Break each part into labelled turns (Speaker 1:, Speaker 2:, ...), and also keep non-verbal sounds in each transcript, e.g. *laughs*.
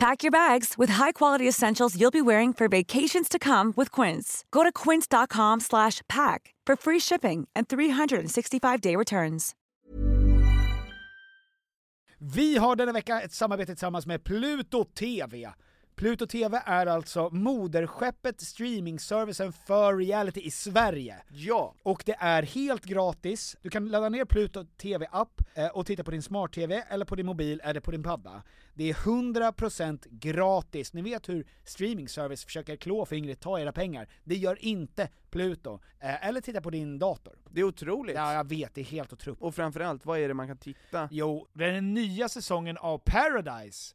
Speaker 1: Pack your bags with high-quality essentials you'll be wearing for vacations to come with Quince. Go to quince.com slash pack for free shipping and 365-day returns.
Speaker 2: Vi har denna vecka ett samarbete tillsammans med Pluto TV. Pluto TV är alltså moderskeppet, streamingservicen för reality i Sverige.
Speaker 3: Ja!
Speaker 2: Och det är helt gratis. Du kan ladda ner Pluto TV-app eh, och titta på din smart-TV eller på din mobil eller på din padda. Det är 100% gratis. Ni vet hur streamingservice försöker klå fingret, ta era pengar. Det gör inte Pluto. Eh, Eller titta på din dator.
Speaker 3: Det är otroligt.
Speaker 2: Ja, jag vet, det är helt otroligt.
Speaker 3: Och framförallt, vad är det man kan titta?
Speaker 2: Jo, det är den nya säsongen av Paradise.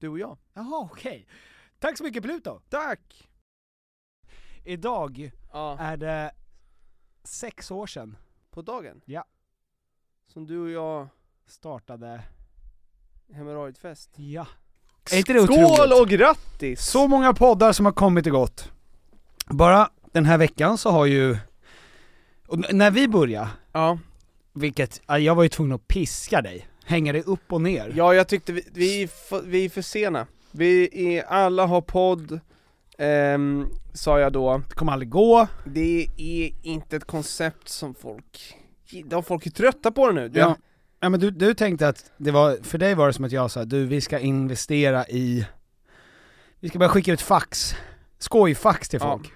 Speaker 3: Du och jag.
Speaker 2: Jaha, okej. Tack så mycket Pluto!
Speaker 3: Tack!
Speaker 2: Idag
Speaker 3: Ja.
Speaker 2: är det sex år sedan
Speaker 3: På dagen?
Speaker 2: Ja.
Speaker 3: Som du och jag,
Speaker 2: startade...
Speaker 3: hemorrojdfest.
Speaker 2: Ja.
Speaker 3: Skål och grattis!
Speaker 2: Så många poddar som har kommit och gått. Bara den här veckan så har ju... Och n- när vi började,
Speaker 3: Ja.
Speaker 2: vilket, ja, jag var ju tvungen att piska dig, hänga dig upp och ner.
Speaker 3: Ja, jag tyckte vi, vi, är för- vi är för sena. Vi är, alla har podd, ehm, sa jag då.
Speaker 2: Det kommer aldrig gå.
Speaker 3: Det är inte ett koncept som folk gillar, folk är trötta på det nu. Det-
Speaker 2: Ja. Ja men du, du tänkte att det var, för dig var det som att jag sa du vi ska investera i, vi ska börja skicka ut fax, skojfax till
Speaker 3: Ja.
Speaker 2: folk.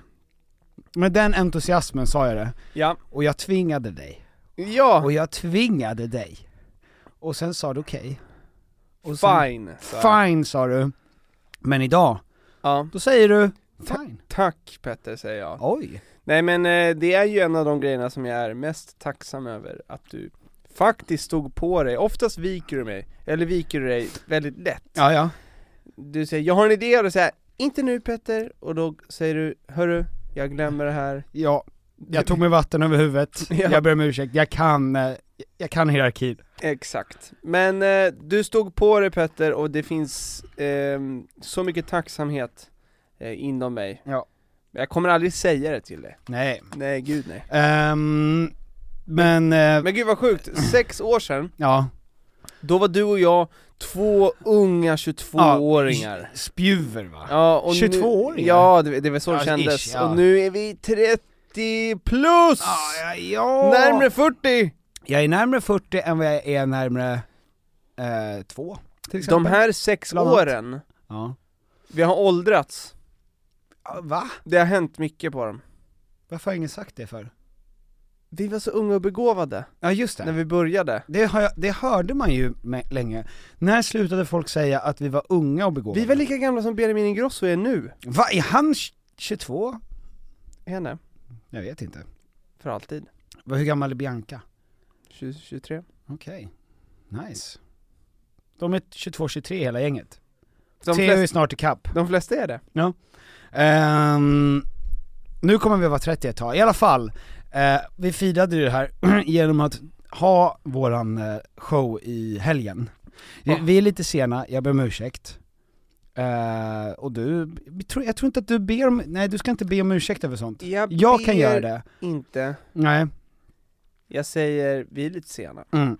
Speaker 2: Med den entusiasmen sa jag det,
Speaker 3: ja.
Speaker 2: och jag tvingade dig,
Speaker 3: Ja,
Speaker 2: och jag tvingade dig. Och sen sa du okej. Och sen-
Speaker 3: fine. sa jag.
Speaker 2: Fine sa du. Men idag,
Speaker 3: Ja.
Speaker 2: då säger du fine.
Speaker 3: Tack Petter säger jag.
Speaker 2: Oj.
Speaker 3: Nej men eh, det är ju en av de grejerna som jag är mest tacksam över, att du faktiskt stod på dig. Oftast viker du mig, eller viker du dig väldigt lätt.
Speaker 2: Ja ja.
Speaker 3: Du säger 'Jag har en idé' och då säger jag 'Inte nu Petter' och då säger du 'Hörru, jag glömmer det här'
Speaker 2: Ja, jag tog mig vatten över huvudet,
Speaker 3: *laughs* Ja.
Speaker 2: jag ber om ursäkt, jag kan, eh, jag kan hierarkin.
Speaker 3: Exakt. Men eh, du stod på dig Petter och det finns ehm, så mycket tacksamhet eh, inom mig.
Speaker 2: Ja.
Speaker 3: Men Jag kommer aldrig säga det till dig.
Speaker 2: Nej,
Speaker 3: Nej, gud nej.
Speaker 2: Ehm, men, eh,
Speaker 3: Men gud
Speaker 2: *clears throat*
Speaker 3: vad sjukt, sex år sedan,
Speaker 2: ja,
Speaker 3: då var du och jag två unga 22-åringar.
Speaker 2: s- spjuver va?
Speaker 3: Ja, och nu-
Speaker 2: 22-åringar?
Speaker 3: Ja, det, det var så det
Speaker 2: Ja,
Speaker 3: kändes.
Speaker 2: ish, ja.
Speaker 3: Och nu är vi 30 plus!
Speaker 2: Ah, ja, ja.
Speaker 3: Närmre 40!
Speaker 2: Jag är närmre 40 än vad jag är närmre eh, två, till exempel.
Speaker 3: De här sex
Speaker 2: Bland annat.
Speaker 3: åren,
Speaker 2: Ja.
Speaker 3: vi har åldrats.
Speaker 2: Ah, Va?
Speaker 3: Det har hänt mycket på dem.
Speaker 2: Varför har ingen sagt det för?
Speaker 3: Vi var så unga och begåvade
Speaker 2: Ja just det.
Speaker 3: när vi började.
Speaker 2: Det, har jag, det hörde man ju med, länge. När slutade folk säga att vi var unga och begåvade?
Speaker 3: Vi var lika gamla som Benjamin Ingrosso är nu.
Speaker 2: Va, är han 22?
Speaker 3: Henne.
Speaker 2: Jag vet inte.
Speaker 3: För alltid.
Speaker 2: Va, Hur gammal är Bianca?
Speaker 3: 2023.
Speaker 2: Okej, nice. De är 22-23 hela gänget.
Speaker 3: De,
Speaker 2: Theo är
Speaker 3: flest,
Speaker 2: snart ikapp.
Speaker 3: de flesta är det.
Speaker 2: Ehm, nu kommer vi vara 30 ett tag, i alla fall. eh, vi firade ju det här *clears throat* genom att ha våran eh, show i helgen. Vi, vi är lite sena, jag ber om ursäkt. Eh, och du, jag tror, jag tror inte att du ber om, nej du ska inte be om ursäkt över sånt.
Speaker 3: Jag,
Speaker 2: Jag kan
Speaker 3: ber
Speaker 2: göra det.
Speaker 3: inte.
Speaker 2: Nej,
Speaker 3: Jag säger, vi är lite sena.
Speaker 2: mm,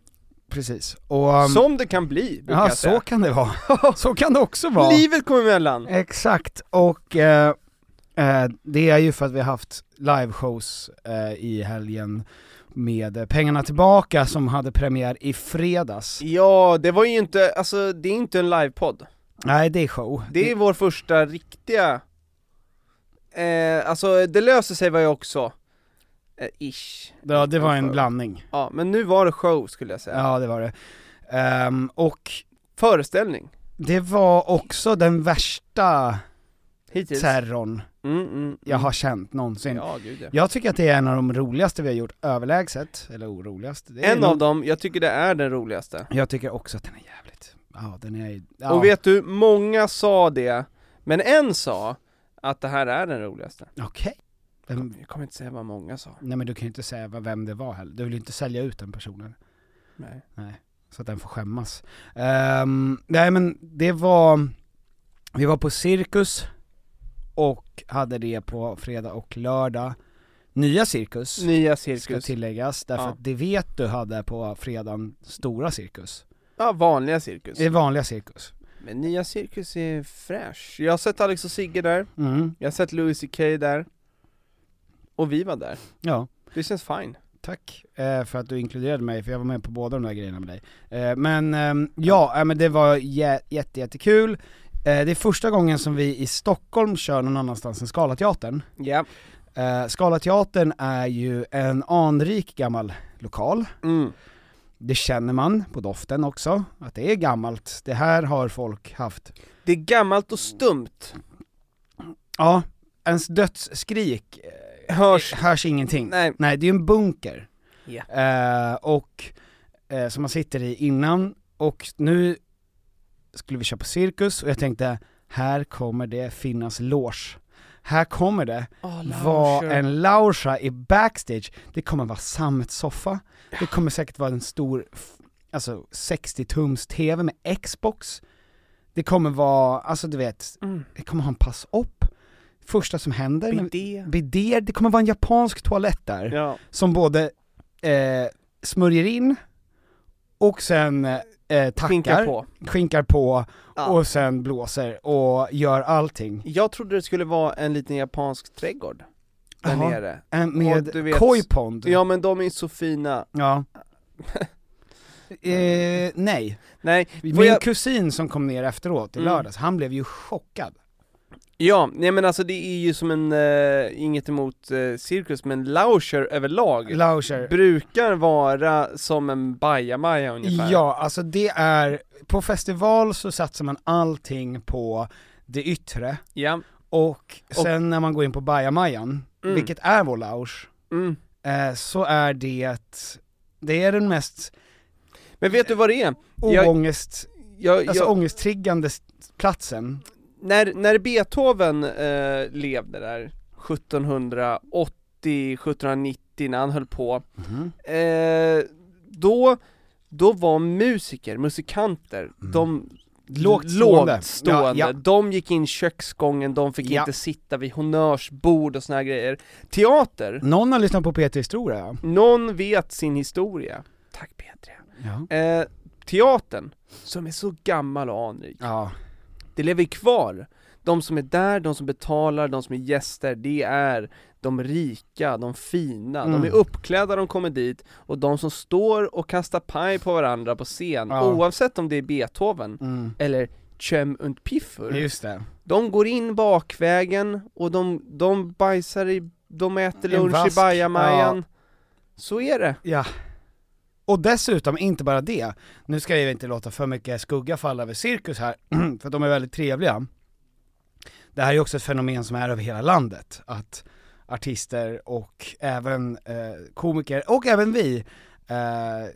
Speaker 2: precis. Och,
Speaker 3: Som det kan bli, brukar
Speaker 2: Um, ja,
Speaker 3: jag säga.
Speaker 2: så kan det vara.
Speaker 3: *laughs*
Speaker 2: Så kan det också vara.
Speaker 3: Livet kommer emellan.
Speaker 2: Exakt, och eh, eh, det är ju för att vi har haft liveshows eh, i helgen med eh, Pengarna Tillbaka som hade premiär i fredags.
Speaker 3: Ja, det var ju inte, alltså det är inte en livepodd.
Speaker 2: Nej, det är show.
Speaker 3: Det är vår första riktiga, eh, alltså det löser sig var jag också, eh, ish.
Speaker 2: ja, det var en
Speaker 3: Show.
Speaker 2: blandning.
Speaker 3: Ja, men nu var det show skulle jag säga.
Speaker 2: Ja, det var det. Ehm, och
Speaker 3: Föreställning,
Speaker 2: det var också den värsta
Speaker 3: hittills.
Speaker 2: terrorn
Speaker 3: Mm, mm, mm.
Speaker 2: jag har känt någonsin.
Speaker 3: Ja, gud ja.
Speaker 2: Jag tycker att det är en av de roligaste vi har gjort överlägset, eller oroligaste. Det är
Speaker 3: En
Speaker 2: nog-
Speaker 3: av dem, jag tycker det är den roligaste.
Speaker 2: Jag tycker också att den är jävligt, ja den är ja.
Speaker 3: Och vet du, många sa det, men en sa att det här är den roligaste.
Speaker 2: Okej. Vem-
Speaker 3: Jag kommer inte säga vad många sa.
Speaker 2: Nej men du kan ju inte säga vad- vem det var heller, du vill ju inte sälja ut den personen
Speaker 3: Nej.
Speaker 2: så att den får skämmas. Ehm, nej men det var, vi var på Cirkus och hade det på fredag och lördag. Nya Cirkus,
Speaker 3: Nya
Speaker 2: ska
Speaker 3: cirkus.
Speaker 2: tilläggas, därför
Speaker 3: Ja.
Speaker 2: att det vet du hade på fredagen, Stora Cirkus.
Speaker 3: Ja, vanliga cirkus.
Speaker 2: Det är vanliga Cirkus.
Speaker 3: Men nya cirkus är fräsch. Jag har sett Alex och Sigge där,
Speaker 2: Mm,
Speaker 3: jag har sett Louis CK där. Och vi var där.
Speaker 2: ja.
Speaker 3: Det känns fine.
Speaker 2: Tack eh, för att du inkluderade mig, för jag var med på båda de där grejerna med dig. Eh, men ehm, ja, eh, men det var jä- jätte, jättekul. Eh, det är första gången som vi i Stockholm kör någon annanstans än Scalateatern.
Speaker 3: Ja.
Speaker 2: Eh, Scalateatern är ju en anrik gammal lokal.
Speaker 3: Mm.
Speaker 2: Det känner man på doften också, att det är gammalt. Det här har folk haft,
Speaker 3: Det är gammalt och stumt.
Speaker 2: ja, ens dödsskrik eh,
Speaker 3: Hörs.
Speaker 2: hörs ingenting.
Speaker 3: Nej.
Speaker 2: Nej, det är ju en bunker.
Speaker 3: Ja.
Speaker 2: Eh, och eh, som man sitter i innan, och nu skulle vi köra på cirkus och jag tänkte, här kommer det finnas loge. Här kommer det
Speaker 3: Oh,
Speaker 2: vara en lounge i backstage, det kommer vara sammetssoffa, det kommer säkert vara en stor, f- alltså 60-tums TV med Xbox, det kommer vara, alltså du vet,
Speaker 3: Mm.
Speaker 2: det kommer ha en pass upp, första som händer, när vi-
Speaker 3: Bidé.
Speaker 2: bidéer, det kommer vara en japansk toalett där
Speaker 3: Ja.
Speaker 2: som både eh, smörjer in och sen eh, tackar,
Speaker 3: Skinkar på.
Speaker 2: skinkar på
Speaker 3: Ja.
Speaker 2: och sen blåser och gör allting.
Speaker 3: Jag trodde det skulle vara en liten japansk trädgård där
Speaker 2: Jaha.
Speaker 3: nere.
Speaker 2: Eh,
Speaker 3: Och du
Speaker 2: med
Speaker 3: vet-
Speaker 2: koi pond.
Speaker 3: Ja men de är så fina. *laughs*
Speaker 2: Ja. eh, nej,
Speaker 3: Nej,
Speaker 2: min
Speaker 3: vad jag,
Speaker 2: kusin som kom ner efteråt i
Speaker 3: Mm.
Speaker 2: lördags, han blev ju chockad.
Speaker 3: ja, nej men alltså det är ju som en, eh, inget emot eh, cirkus, men lauscher överlag
Speaker 2: Lauscher.
Speaker 3: brukar vara som en bajamaja ungefär.
Speaker 2: Ja, alltså det är, på festival så satsar man allting på det yttre
Speaker 3: ja.
Speaker 2: och sen när man går in på bajamajan,
Speaker 3: Mm.
Speaker 2: vilket är vår lounge,
Speaker 3: Mm.
Speaker 2: eh, så är det, det är den mest
Speaker 3: Men vet du vad det är? Jag-
Speaker 2: oångest,
Speaker 3: Jag,
Speaker 2: alltså
Speaker 3: jag,
Speaker 2: ångesttriggande s- platsen.
Speaker 3: när, när Beethoven eh, levde där 1780, 1790 när han höll på, eh, då, då var musiker, musikanter, de
Speaker 2: Mm. Lågt stående.
Speaker 3: stående.
Speaker 2: Ja, ja.
Speaker 3: de gick in köksgången, de fick
Speaker 2: Ja.
Speaker 3: inte sitta vid honnörsbord och såna grejer. Teater,
Speaker 2: Någon har lyssnat på Peter Historia ja.
Speaker 3: någon vet sin historia. Tack Petri.
Speaker 2: Ja.
Speaker 3: Eh, teatern, som är så gammal och anrik,
Speaker 2: ja.
Speaker 3: det lever kvar. De som är där, de som betalar, de som är gäster, det är de rika, de fina,
Speaker 2: Mm.
Speaker 3: de är uppklädda, de kommer dit och de som står och kastar paj på varandra på scen,
Speaker 2: Ja.
Speaker 3: oavsett om det är Beethoven
Speaker 2: Mm.
Speaker 3: eller Cem und Piffer,
Speaker 2: Just det.
Speaker 3: de går in bakvägen och de, de bajsar i, de äter
Speaker 2: En
Speaker 3: lunch
Speaker 2: vask,
Speaker 3: i bajamajan. Så är det.
Speaker 2: Ja. Och dessutom, inte bara det, nu ska jag ju inte låta för mycket skugga falla över cirkus här, *clears throat* för de är väldigt trevliga. Det här är ju också ett fenomen som är över hela landet, att artister och även eh, komiker, och även vi, eh, eh,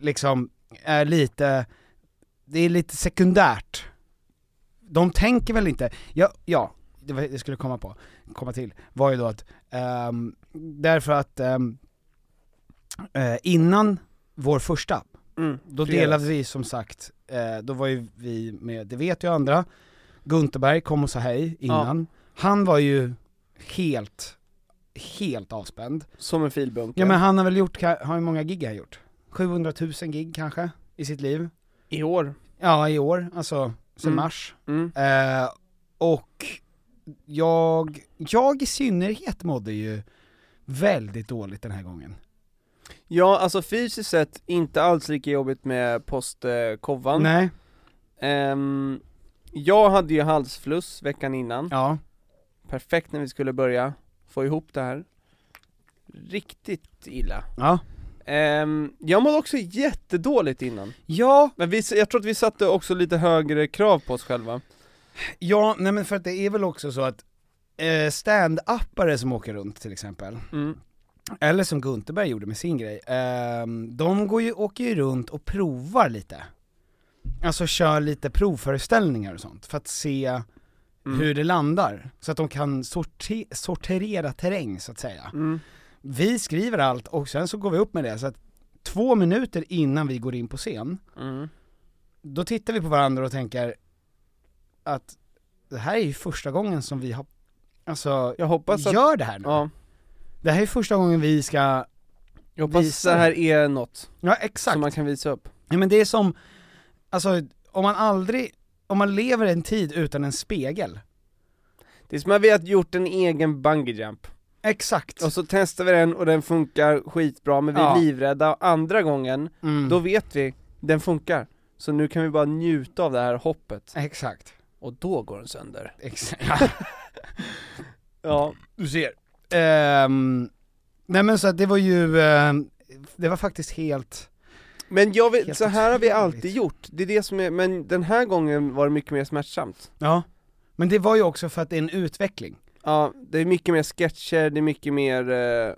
Speaker 2: liksom är lite, det är lite sekundärt. De tänker väl inte, ja, ja det var- det skulle komma på, komma till, var ju då att, ehm, därför att ehm, eh, innan vår första,
Speaker 3: Mm,
Speaker 2: då
Speaker 3: fredag.
Speaker 2: delade vi som sagt, eh, då var ju vi med, det vet ju andra, Gunterberg kom och sa hej innan, han var ju helt, helt avspänd.
Speaker 3: Som en filbunke.
Speaker 2: Ja men han har väl gjort, ka- har hur många gig har han gjort? 700 000 gig kanske, i sitt liv?
Speaker 3: I år.
Speaker 2: Ja i år, alltså sen
Speaker 3: Mm.
Speaker 2: mars.
Speaker 3: Mm.
Speaker 2: Eh, och jag, jag i synnerhet mådde ju väldigt dåligt den här gången.
Speaker 3: Ja, alltså fysiskt sett inte alls lika jobbigt med postkovan.
Speaker 2: Nej,
Speaker 3: Ehm, jag hade ju halsfluss veckan innan.
Speaker 2: ja.
Speaker 3: Perfekt när vi skulle börja få ihop det här. Riktigt illa.
Speaker 2: Ja.
Speaker 3: Ehm, jag mådde också jättedåligt innan.
Speaker 2: Ja,
Speaker 3: Men vi, jag tror att vi satte också lite högre krav på oss själva.
Speaker 2: ja, nej men för att det är väl också så att eh, stand-uppare som åker runt till exempel,
Speaker 3: Mm.
Speaker 2: eller som Gunterberg gjorde med sin grej, ehm, de går ju, åker ju runt och provar lite. Alltså kör lite provföreställningar och sånt, för att se
Speaker 3: Mm.
Speaker 2: hur det landar. Så att de kan sorte- sortera terräng så att säga.
Speaker 3: Mm.
Speaker 2: Vi skriver allt och sen så går vi upp med det, så att två minuter innan vi går in på scen,
Speaker 3: Mm.
Speaker 2: då tittar vi på varandra och tänker att det här är ju första gången som vi har, alltså,
Speaker 3: Jag hoppas att...
Speaker 2: gör det här nu.
Speaker 3: Ja,
Speaker 2: Det här är första gången vi ska,
Speaker 3: jag hoppas
Speaker 2: Visa
Speaker 3: det
Speaker 2: det.
Speaker 3: här är något
Speaker 2: ja exakt.
Speaker 3: som man kan visa upp.
Speaker 2: Ja, men det är som, alltså om man aldrig, om man lever en tid utan en spegel.
Speaker 3: Det är som att vi har gjort en egen bungee jump.
Speaker 2: Exakt.
Speaker 3: Och så testar vi den och den funkar skitbra, men vi är
Speaker 2: Ja.
Speaker 3: livrädda. Andra gången,
Speaker 2: Mm.
Speaker 3: då vet vi, den funkar. Så nu kan vi bara njuta av det här hoppet.
Speaker 2: Exakt.
Speaker 3: Och då går den sönder.
Speaker 2: *laughs* Exakt.
Speaker 3: Ja.
Speaker 2: Du ser. Ehm, nej men så att det var ju, ehm, det var faktiskt helt,
Speaker 3: Men jag vet,
Speaker 2: Helt
Speaker 3: så här har vi
Speaker 2: otroligt.
Speaker 3: alltid gjort. Det är det som är, men den här gången var det mycket mer smärtsamt.
Speaker 2: ja. Men det var ju också för att det är en utveckling.
Speaker 3: Ja, det är mycket mer sketcher, det är mycket mer, eh,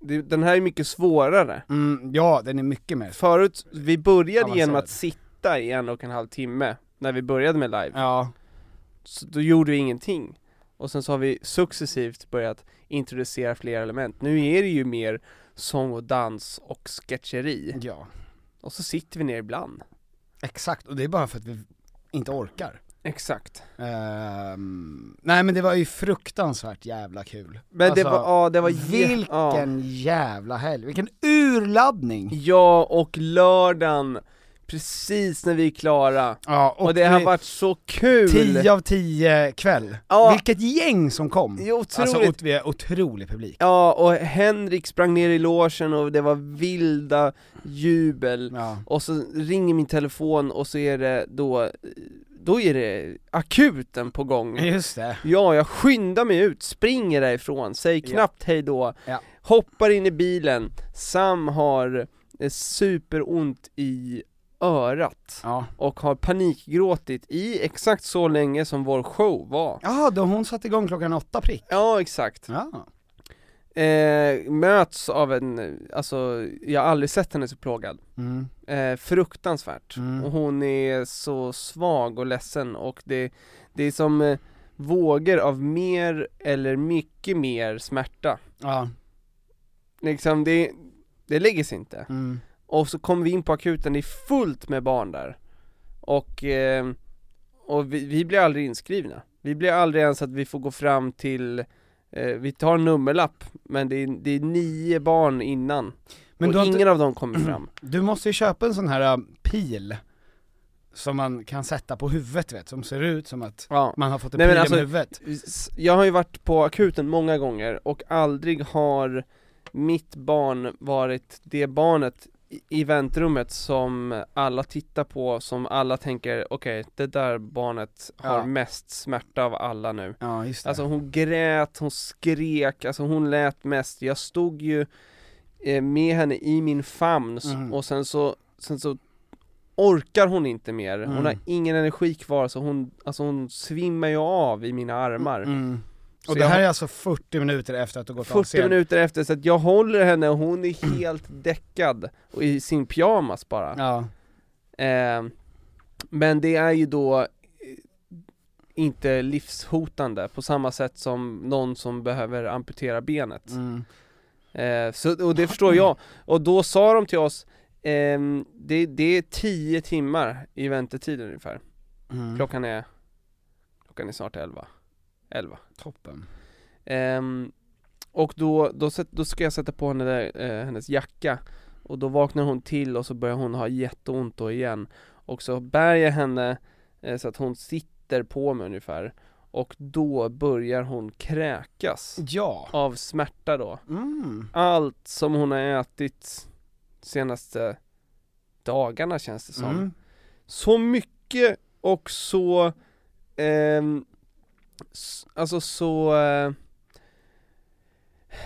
Speaker 3: det, den här är mycket svårare.
Speaker 2: Mm, ja, den är mycket mer.
Speaker 3: Förut, vi började
Speaker 2: Avancerad.
Speaker 3: genom att sitta i en och en halv timme, när vi började med live.
Speaker 2: Ja,
Speaker 3: Så då gjorde vi ingenting. Och sen så har vi successivt börjat introducera fler element. Nu är det ju mer sång och dans och sketcheri.
Speaker 2: ja.
Speaker 3: Och så sitter vi ner ibland.
Speaker 2: Exakt, och det är bara för att vi inte orkar.
Speaker 3: Exakt.
Speaker 2: Ehm, nej men det var ju fruktansvärt jävla kul.
Speaker 3: Men det
Speaker 2: Alltså,
Speaker 3: var, ja det var jä- Ja.
Speaker 2: Vilken jävla helg, vilken urladdning!
Speaker 3: ja, och lördagen, precis när vi är klara.
Speaker 2: Ja,
Speaker 3: Och, det har varit så kul!
Speaker 2: 10 av 10 kväll.
Speaker 3: Ja.
Speaker 2: Vilket gäng som kom!
Speaker 3: Det är otroligt.
Speaker 2: Alltså ot- vi är otrolig publik.
Speaker 3: Ja, och Henrik sprang ner i logen och det var vilda jubel.
Speaker 2: Ja.
Speaker 3: Och så ringer min telefon och så är det då, då är det akuten på gång.
Speaker 2: Just det.
Speaker 3: Ja, jag skyndar mig ut, springer därifrån, säger
Speaker 2: Ja.
Speaker 3: knappt hej då,
Speaker 2: Ja.
Speaker 3: hoppar in i bilen, Sam har eh, superont i örat
Speaker 2: Ja.
Speaker 3: och har panikgråtit i exakt så länge som vår show var.
Speaker 2: Ja, då hon satte igång klockan åtta prick.
Speaker 3: Ja, exakt.
Speaker 2: Ja.
Speaker 3: Eh, möts av en, alltså, jag har aldrig sett henne så plågad.
Speaker 2: Mm.
Speaker 3: Eh, fruktansvärt.
Speaker 2: Mm.
Speaker 3: Och hon är så svag och ledsen och det, det är som eh, vågor av mer eller mycket mer smärta.
Speaker 2: Ja.
Speaker 3: Liksom det, det lägger sig inte.
Speaker 2: Mm.
Speaker 3: Och så kommer vi in på akuten, det är fullt med barn där. Och, eh, och vi, vi blir aldrig inskrivna. Vi blir aldrig ens att vi får gå fram till, eh, vi tar en nummerlapp, men det är, det är nio barn innan.
Speaker 2: Men
Speaker 3: och
Speaker 2: du, har
Speaker 3: ingen
Speaker 2: inte,
Speaker 3: av dem
Speaker 2: *clears throat*
Speaker 3: kommer fram.
Speaker 2: du måste ju köpa en sån här äh, pil som man kan sätta på huvudet vet, som ser ut som att
Speaker 3: Ja.
Speaker 2: man har fått en
Speaker 3: Nej, men
Speaker 2: pil
Speaker 3: alltså-
Speaker 2: med huvudet.
Speaker 3: S- Jag har ju varit på akuten många gånger och aldrig har mitt barn varit det barnet i- i väntrummet som alla tittar på, som alla tänker okej, det där barnet har
Speaker 2: Ja.
Speaker 3: mest smärta av alla nu.
Speaker 2: Ja, just det.
Speaker 3: Alltså hon grät, hon skrek, alltså hon lät mest, jag stod ju eh, med henne i min famn s-
Speaker 2: Mm.
Speaker 3: och sen så, sen så orkar hon inte mer, hon
Speaker 2: Mm.
Speaker 3: har ingen energi kvar så hon, alltså hon svimmar ju av i mina armar.
Speaker 2: mm. Och
Speaker 3: Så
Speaker 2: det här
Speaker 3: jag,
Speaker 2: är alltså 40 minuter efter att du gått av
Speaker 3: 40
Speaker 2: scen.
Speaker 3: minuter efter, så att jag håller henne och hon är helt däckad, och i sin pyjamas bara.
Speaker 2: Ja.
Speaker 3: Eh, men det är ju då eh, inte livshotande på samma sätt som någon som behöver amputera benet.
Speaker 2: Mm.
Speaker 3: Eh, så, och det förstår jag. Och då sa de till oss, ehm, det, det är 10 timmar i väntetid ungefär.
Speaker 2: Mm.
Speaker 3: Klockan är, klockan är snart 11. 11.
Speaker 2: Toppen.
Speaker 3: Ehm, och då, då, sätt- då ska jag sätta på henne där, eh, hennes jacka Och då vaknar hon till och så börjar hon ha jätteont då igen Och så bär jag henne eh, så att hon sitter på mig ungefär Och då börjar hon kräkas
Speaker 2: Ja.
Speaker 3: Av smärta då
Speaker 2: Mm.
Speaker 3: Allt som hon har ätit senaste dagarna känns det som
Speaker 2: Mm.
Speaker 3: så mycket och så, ehm, s- alltså så, eh,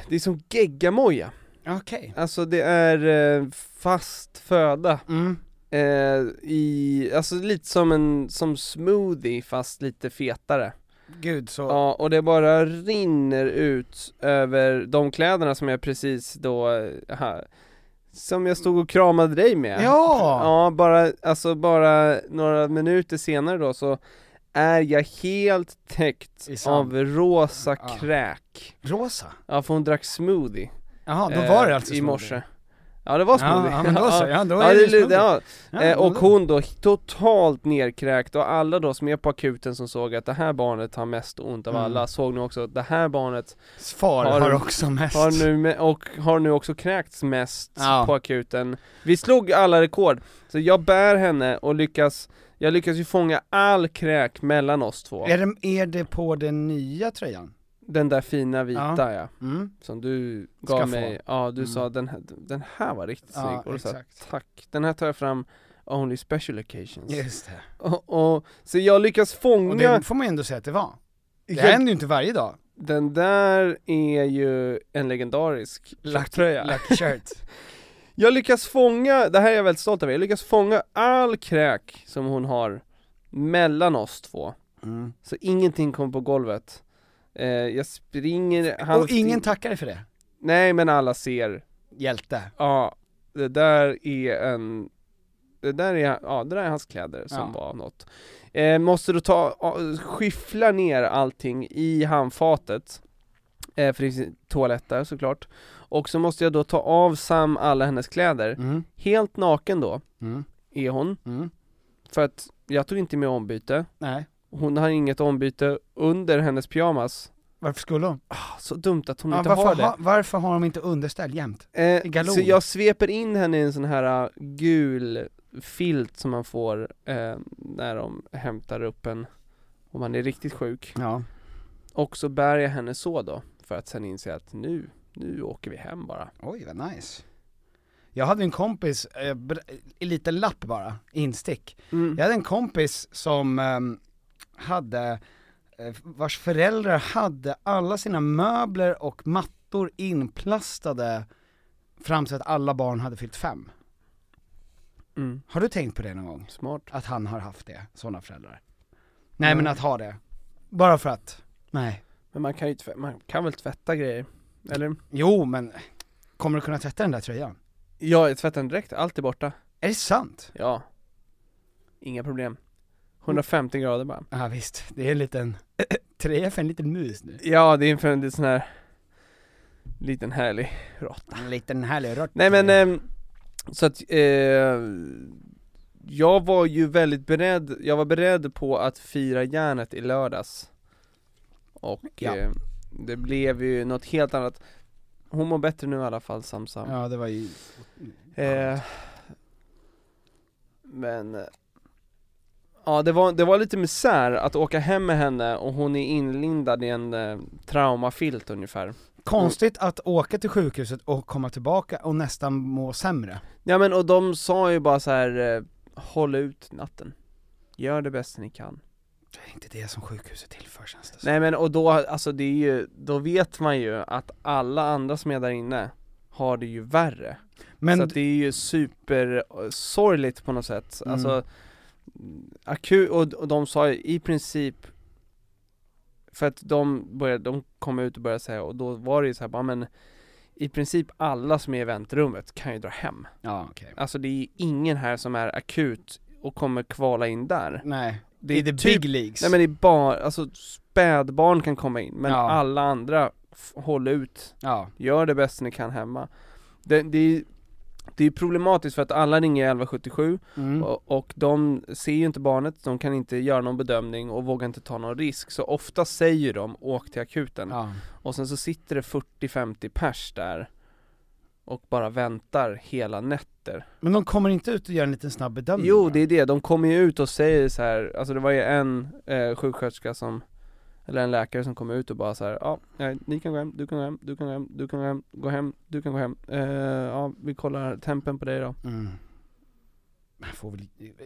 Speaker 3: det är som geggamoja.
Speaker 2: Okej.
Speaker 3: Alltså det är eh, fast föda
Speaker 2: Mm.
Speaker 3: eh, i, alltså lite som en, som smoothie fast lite fetare.
Speaker 2: Gud så...
Speaker 3: Ja, och det bara rinner ut över de kläderna som jag precis då, eh, ha- som jag stod och kramade dig med.
Speaker 2: Ja!
Speaker 3: Ja, bara, alltså bara några minuter senare då så är jag helt täckt
Speaker 2: I sand. Ah.
Speaker 3: av rosa
Speaker 2: Ja.
Speaker 3: kräk.
Speaker 2: Rosa.
Speaker 3: Ja, för hon drack smoothie.
Speaker 2: Jaha, då
Speaker 3: eh,
Speaker 2: var det alltså
Speaker 3: I
Speaker 2: smoothie.
Speaker 3: morse. Ja, det var smoothie.
Speaker 2: Ja, ja, men då så. Ja, då är
Speaker 3: *laughs*
Speaker 2: det
Speaker 3: Ja, det,
Speaker 2: ju
Speaker 3: det,
Speaker 2: smoothie.
Speaker 3: ja.
Speaker 2: Ja,
Speaker 3: Eh,
Speaker 2: men
Speaker 3: och
Speaker 2: då-
Speaker 3: hon då totalt nerkräkt och alla då som är på akuten som såg att det här barnet har mest ont av
Speaker 2: Mm.
Speaker 3: alla såg nu också att det här barnet
Speaker 2: Far har,
Speaker 3: har-
Speaker 2: också mest.
Speaker 3: har nu, me- och har nu också kräkts mest
Speaker 2: Ja.
Speaker 3: på akuten Vi slog alla rekord, så jag bär henne och lyckas, jag lyckas ju fånga all kräk mellan oss två
Speaker 2: Är, det, är det på den nya tröjan?
Speaker 3: Den där fina vita ja,
Speaker 2: Mm.
Speaker 3: som du
Speaker 2: Ska
Speaker 3: gav
Speaker 2: få.
Speaker 3: mig, ja du
Speaker 2: Mm.
Speaker 3: sa den här, den här var riktigt
Speaker 2: Ja,
Speaker 3: snygg, och då sa jag,
Speaker 2: exakt.
Speaker 3: tack, den här tar jag fram Only special occasions
Speaker 2: Just det.
Speaker 3: och, och, Så jag lyckas fånga
Speaker 2: Och det får man ju ändå säga att det var. Det händer ju inte varje dag.
Speaker 3: Den där är ju en legendarisk lacktröja
Speaker 2: Lucky shirt.
Speaker 3: *laughs* Jag lyckas fånga, det här är jag väldigt stolt över, jag lyckas fånga all kräk som hon har mellan oss två
Speaker 2: Mm.
Speaker 3: Så ingenting kom på golvet eh, Jag springer halvt
Speaker 2: Och ingen
Speaker 3: in-
Speaker 2: tackar dig för det.
Speaker 3: Nej men alla ser,
Speaker 2: Hjälte.
Speaker 3: ja det där är en det där är, ja det där är hans kläder som
Speaker 2: Ja.
Speaker 3: var något eh, Måste du ta, ja, skyffla ner allting i handfatet eh, För det finns toalett där såklart Och så måste jag då ta av Sam alla hennes kläder
Speaker 2: Mm.
Speaker 3: Helt naken då
Speaker 2: Mm.
Speaker 3: är hon,
Speaker 2: Mm.
Speaker 3: för att jag tog inte med ombyte,
Speaker 2: Nej.
Speaker 3: hon har inget ombyte under hennes pyjamas
Speaker 2: Varför skulle hon?
Speaker 3: Ah, Så dumt att hon
Speaker 2: Ja,
Speaker 3: inte
Speaker 2: varför,
Speaker 3: har
Speaker 2: ha,
Speaker 3: det
Speaker 2: varför har de inte underställ jämt? i
Speaker 3: eh,
Speaker 2: galon?
Speaker 3: Så jag sveper in henne i en sån här ah, gul filt som man får eh, när de hämtar upp en om man är riktigt sjuk
Speaker 2: Ja.
Speaker 3: Och så bär jag henne så då, för att sen inse att nu, nu åker vi hem bara
Speaker 2: Oj, vad nice. Jag hade en kompis, eh, br- i liten lapp bara, instick.
Speaker 3: Mm.
Speaker 2: Jag hade en kompis som ehm, hade, eh, vars föräldrar hade alla sina möbler och mattor inplastade fram till att alla barn hade fyllt fem.
Speaker 3: Mm,
Speaker 2: Har du tänkt på det någon gång?
Speaker 3: smart
Speaker 2: Att han har haft det, sådana föräldrar? Nej men att ha det. Bara för att, nej.
Speaker 3: Men man kan ju tvätta, man kan väl tvätta grejer? Eller?
Speaker 2: Jo men, kommer du kunna tvätta den där tröjan?
Speaker 3: Ja, jag tvättar den direkt, allt är borta
Speaker 2: Är det sant?
Speaker 3: Ja Inga problem 150 grader bara
Speaker 2: Ja visst, det är en liten, *clears throat* tröja för en liten mus nu.
Speaker 3: Ja det är för en liten sån här Liten härlig råtta
Speaker 2: En liten härlig rört.
Speaker 3: Nej men
Speaker 2: Mm.
Speaker 3: ehm, Så att eh, Jag var ju väldigt beredd Jag var beredd på att fira järnet i lördags Och
Speaker 2: Ja.
Speaker 3: eh, Det blev ju något helt annat Hon mår bättre nu i alla fall Samsam
Speaker 2: Ja det var ju
Speaker 3: Eh, men eh, Ja det var, det var lite misär att åka hem med henne och hon är inlindad i en eh, traumafilt ungefär
Speaker 2: Konstigt att åka till sjukhuset och komma tillbaka och nästan må sämre.
Speaker 3: Ja men och de sa ju bara så här eh, Håll ut natten Gör det bästa ni kan
Speaker 2: Det är inte det som sjukhuset tillför känns det som.
Speaker 3: Nej men och då, alltså det är ju, då vet man ju att alla andra som är där inne Har det ju värre
Speaker 2: Men
Speaker 3: så att det är ju supersorgligt på något sätt,
Speaker 2: Mm.
Speaker 3: alltså mm, akut, och, och de sa ju i princip För att de började, de kom ut och började säga, och då var det ju så här, bara, men i princip alla som är i väntrummet kan ju dra hem.
Speaker 4: Ja, okej.
Speaker 3: Alltså det är ingen här som är akut och kommer kvala in där.
Speaker 4: Nej.
Speaker 3: Det
Speaker 4: I the
Speaker 3: typ-
Speaker 4: big leagues.
Speaker 3: Nej men det är bara, alltså spädbarn kan komma in, men
Speaker 4: Ja.
Speaker 3: alla andra, f- håll ut,
Speaker 4: Ja.
Speaker 3: gör det bäst ni kan hemma. Det, det, är, det är problematiskt för att alla ringer 1177
Speaker 4: Mm.
Speaker 3: och, och de ser ju inte barnet, de kan inte göra någon bedömning och vågar inte ta någon risk. Så ofta säger de åk till akuten
Speaker 4: Ja.
Speaker 3: och sen så sitter det 40-50 pers där och bara väntar hela nätter.
Speaker 2: Men de kommer inte ut och gör en liten snabb bedömning?
Speaker 3: Jo
Speaker 2: va?
Speaker 3: det är det, de kommer ju ut och säger så här. alltså det var ju en eh, sjuksköterska som eller en läkare som kom ut och bara så här, ja, nej, ni kan gå hem, du kan gå hem, du kan gå hem, du kan gå hem, gå hem, du kan gå hem, eh, ja, vi kollar tempen på dig då.
Speaker 2: Mm. Man får väl...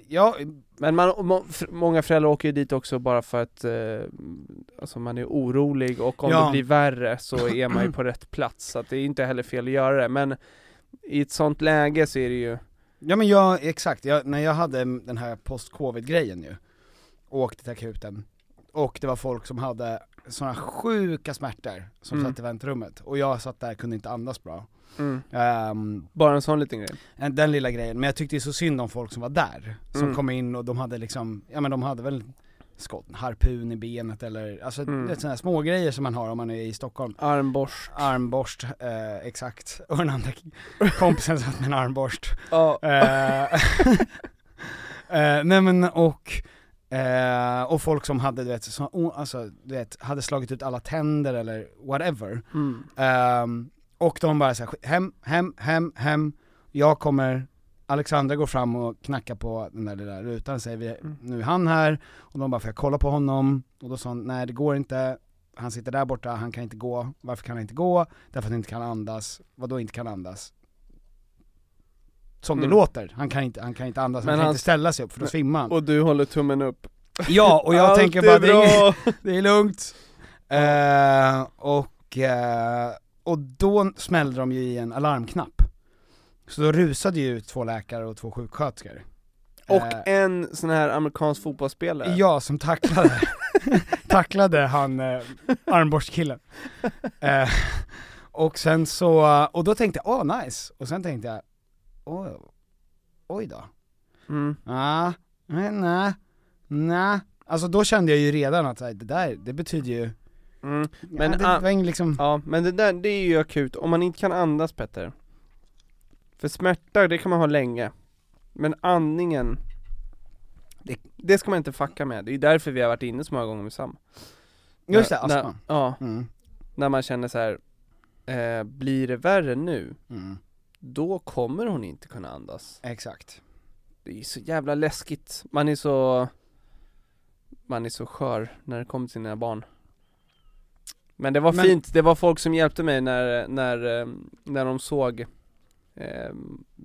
Speaker 2: Ja,
Speaker 3: Men man, må, fr- många föräldrar åker ju dit också bara för att, eh, alltså man är orolig och om
Speaker 2: Ja.
Speaker 3: det blir värre *clears throat* så är man ju på rätt plats, så att det är inte heller fel att göra det, men i ett sånt läge så är det ju,
Speaker 2: ja men jag, exakt, jag, när jag hade mm, den här post-covid-grejen ju, och åkte till akuten, och det var folk som hade såna sjuka smärtor som
Speaker 3: Mm.
Speaker 2: satt i väntrummet, och jag satt där kunde inte andas bra.
Speaker 3: mm,
Speaker 2: Ehm,
Speaker 3: bara en sån liten grej.
Speaker 2: en- den lilla grejen, men jag tyckte ju så synd om folk som var där, som
Speaker 3: Mm.
Speaker 2: kom in och de hade liksom, ja men de hade väl skott, harpun i benet eller, alltså
Speaker 3: Mm.
Speaker 2: mm. sådana här små grejer som man har om man är i Stockholm.
Speaker 3: Armborst.
Speaker 2: Armborst, eh, exakt. *laughs* Och den andra kompisen satt med en armborst.
Speaker 3: Ja.
Speaker 2: Eh, *laughs* eh, nej men och, eh, och folk som hade du vet, så, o- alltså, du vet, hade slagit ut alla tänder eller whatever.
Speaker 3: Mm.
Speaker 2: Ehm, och de bara såhär, hem, hem, hem, hem, jag kommer, Alexandra går fram och knackar på den där lilla rutan och säger vi,
Speaker 3: Mm.
Speaker 2: nu är han här, och de bara får jag kolla på honom? Och då sa hon, nej det går inte, han sitter där borta, han kan inte gå, varför kan han inte gå? Därför att han inte kan andas, vadå inte kan andas? Som det
Speaker 3: Mm.
Speaker 2: låter, han kan inte, han kan inte andas,
Speaker 3: Men
Speaker 2: han kan
Speaker 3: han-
Speaker 2: inte ställa sig upp för då
Speaker 3: Men-
Speaker 2: svimmar han.
Speaker 3: Och du håller tummen upp.
Speaker 2: Ja, och jag
Speaker 3: Allt
Speaker 2: tänker
Speaker 3: är
Speaker 2: bara, det är, inget-
Speaker 3: bra!
Speaker 2: det är lugnt. Eh, och, eh, och då smällde de ju i en alarmknapp. Så då rusade ju två läkare och två sjuksköterskor.
Speaker 3: *laughs* Och en sån här amerikansk fotbollsspelare.
Speaker 2: Eh, ja, som tacklade, tacklade han eh, armborstkillen. Eh, och sen så, och då tänkte jag, åh nice, och sen tänkte jag, åh, oj då.
Speaker 3: Mm.
Speaker 2: Ah, men nej, nej. Alltså då kände jag ju redan att så här, det där, det betyder ju,
Speaker 3: Mm. Men,
Speaker 2: men, ja, det
Speaker 3: ah,
Speaker 2: var ingen liksom
Speaker 3: Ja, men det där, det är ju akut. Om man inte kan andas Petter. För smärta, det kan man ha länge. Men andningen, det, det ska man inte fucka med. Det är ju därför vi har varit inne så många gånger med Sam.
Speaker 2: Just det,
Speaker 3: När- när-
Speaker 2: astma.
Speaker 3: Ja,
Speaker 2: Mm.
Speaker 3: när man känner så här. Eh, blir det värre nu,
Speaker 2: mm,
Speaker 3: då kommer hon inte kunna andas.
Speaker 2: Exakt.
Speaker 3: Det är ju så jävla läskigt, man är så Man är så skör när det kommer till sina barn Men det var
Speaker 2: Men-
Speaker 3: fint, det var folk som hjälpte mig när, när, eh, när de såg eh,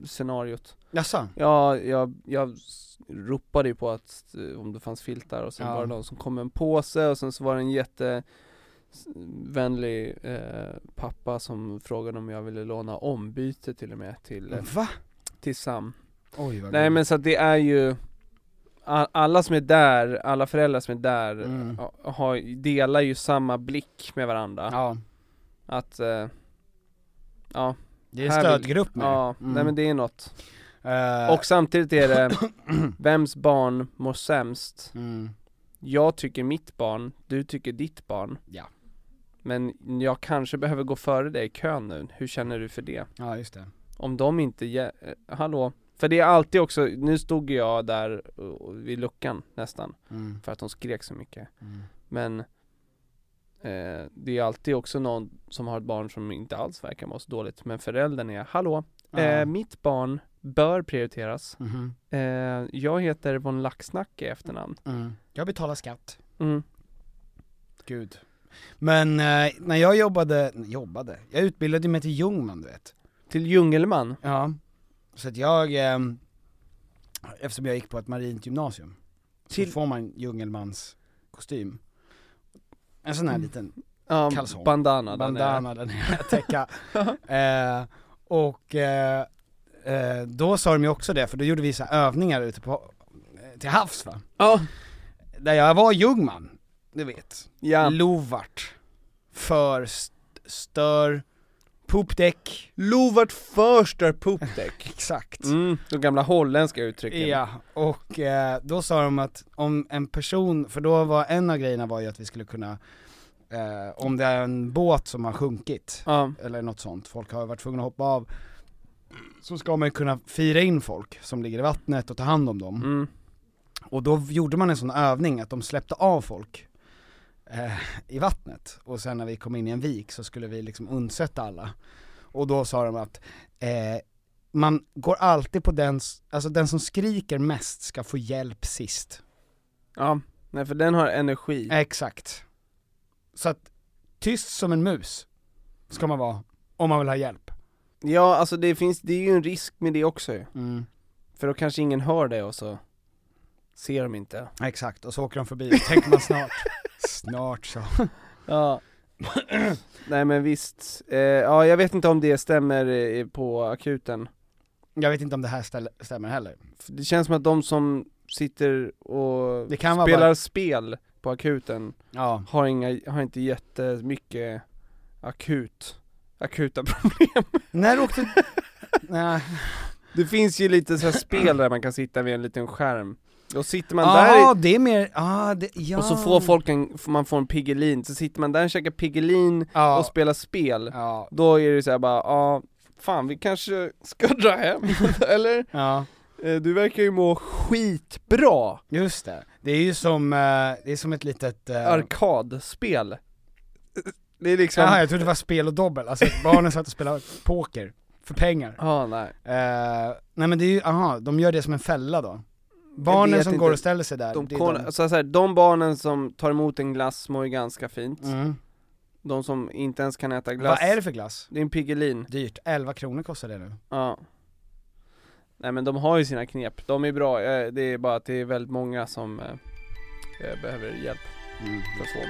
Speaker 3: scenariot
Speaker 2: Jaså?
Speaker 3: Ja, jag, jag s- ropade ju på att eh, om det fanns filtar och sen
Speaker 2: Ja.
Speaker 3: var det någon som kom med en påse och sen så var det en jättevänlig eh, pappa som frågade om jag ville låna ombyte till och med till, eh,
Speaker 2: Va?
Speaker 3: till Sam
Speaker 2: Oj vad
Speaker 3: Nej
Speaker 2: gud.
Speaker 3: men så att det är ju a- alla som är där, alla föräldrar som är där
Speaker 2: Mm.
Speaker 3: ha- har, delar ju samma blick med varandra.
Speaker 2: Ja,
Speaker 3: Att, eh, ja,
Speaker 2: det är
Speaker 3: Här vill-
Speaker 2: stödgrupp nu.
Speaker 3: ja,
Speaker 2: Mm.
Speaker 3: nej men det är något.
Speaker 2: Eh,
Speaker 3: Och samtidigt är det, vems barn mår sämst?
Speaker 2: *clears throat* mm.
Speaker 3: Jag tycker mitt barn, du tycker ditt barn.
Speaker 2: Ja.
Speaker 3: Men jag kanske behöver gå före dig i kön nu, hur känner du för det?
Speaker 2: Ja just det.
Speaker 3: Om de inte, ge- eh, hallå? För det är alltid också, nu stod jag där eh, vid luckan nästan.
Speaker 2: Mm.
Speaker 3: för att de skrek så mycket.
Speaker 2: Mm.
Speaker 3: Men eh, det är alltid också någon som har ett barn som inte alls verkar må så dåligt, men föräldern är Hallå,
Speaker 2: Ja.
Speaker 3: eh, mitt barn bör prioriteras.
Speaker 2: Mhm.
Speaker 3: Eh, jag heter von Laxnack i efternamn.
Speaker 2: Mm. Jag betalar skatt.
Speaker 3: Mm.
Speaker 2: Gud. Men eh, när jag jobbade, jobbade, jag utbildade mig till Ljungman du vet.
Speaker 3: Till Djungelman.
Speaker 2: Ja. Så att jag, ehm, eftersom jag gick på ett marint gymnasium,
Speaker 3: Till-
Speaker 2: så får man Djungelmans kostym. En sån här
Speaker 3: Mm.
Speaker 2: liten
Speaker 3: Ja,
Speaker 2: Kalsong.
Speaker 3: bandana. där nere.
Speaker 2: bandana där nere,
Speaker 3: *laughs*
Speaker 2: täcka. eh, och eh, eh, då sa de ju också det, för då gjorde vi så här övningar ute på, eh, till havs va?
Speaker 3: Ja,
Speaker 2: Där jag var jungman. du vet,
Speaker 3: Ja.
Speaker 2: Lovart. För st- stör, poopdäck.
Speaker 4: Lovart förstör poopdäck.
Speaker 2: Exakt.
Speaker 3: *laughs* Mm, de gamla holländska uttrycken.
Speaker 2: Ja, och eh, då sa de att om en person, för då var en av grejerna var ju att vi skulle kunna, eh, om det är en båt som har sjunkit,
Speaker 3: Ja.
Speaker 2: eller något sånt, folk har varit tvungna att hoppa av, så ska man ju kunna fira in folk som ligger i vattnet och ta hand om dem.
Speaker 3: Mm.
Speaker 2: Och då gjorde man en sån övning att de släppte av folk eh, i vattnet, och sen när vi kom in i en vik så skulle vi liksom undsätta alla. Och då sa de att eh, man går alltid på den, s- alltså den som skriker mest ska få hjälp sist.
Speaker 3: ja. Nej för den har energi.
Speaker 2: Exakt. Så att, tyst som en mus ska man vara, om man vill ha hjälp.
Speaker 3: Ja alltså det finns, det är ju en risk med det också ju.
Speaker 2: Mm.
Speaker 3: För då kanske ingen hör det och så ser de inte.
Speaker 2: Exakt, och så åker de förbi, och tänker man snart, snart så.
Speaker 3: Ja. *clears throat* Nej men visst, eh, ja jag vet inte om det stämmer eh, på akuten.
Speaker 2: Jag vet inte om det här ställ- stämmer heller.
Speaker 3: För Det känns som att de som sitter och
Speaker 2: Det kan vara
Speaker 3: spelar
Speaker 2: bara-
Speaker 3: spel på akuten
Speaker 2: Ja.
Speaker 3: har, inga, har inte jättemycket akut, akuta problem.
Speaker 2: När åkte, *laughs* nej,
Speaker 3: *laughs* Det finns ju lite så här
Speaker 2: *clears throat*
Speaker 3: spel där man kan sitta vid en liten skärm. Då sitter man
Speaker 2: Ja,
Speaker 3: där
Speaker 2: det är mer, ah, det, ja.
Speaker 3: och så får folk en, får man får en Piggelin, så sitter man där och käkar Piggelin
Speaker 2: ja.
Speaker 3: och spelar spel.
Speaker 2: ja.
Speaker 3: Då är det så här bara, ja, fan vi kanske ska dra hem, *laughs* eller?
Speaker 2: ja,
Speaker 3: Eh, Du verkar ju må skitbra!
Speaker 2: just det. Det är ju som, eh, det är som ett litet... eh,
Speaker 3: Arkadspel. Eh, Det är liksom,
Speaker 2: Jaha, jag trodde det var spel och dobbel, alltså att barnen satt och spelade poker, för pengar.
Speaker 3: ja nej.
Speaker 2: Eh, nej men det är ju, aha, de gör det som en fälla då.
Speaker 3: Jag
Speaker 2: Barnen
Speaker 3: vet
Speaker 2: som
Speaker 3: inte.
Speaker 2: går och ställer sig där,
Speaker 3: De, alltså,
Speaker 2: det är
Speaker 3: kon-
Speaker 2: de.
Speaker 3: Så här, de barnen som tar emot en glass mår ju ganska fint.
Speaker 2: Mm.
Speaker 3: De som inte ens kan äta glass.
Speaker 2: Vad är det för glass?
Speaker 3: Det är en Piggelin.
Speaker 2: Dyrt, 11 kronor kostar det nu.
Speaker 3: Ja. Nej men de har ju sina knep, de är bra, Eh, det är bara att det är väldigt många som eh, eh, behöver hjälp för att få.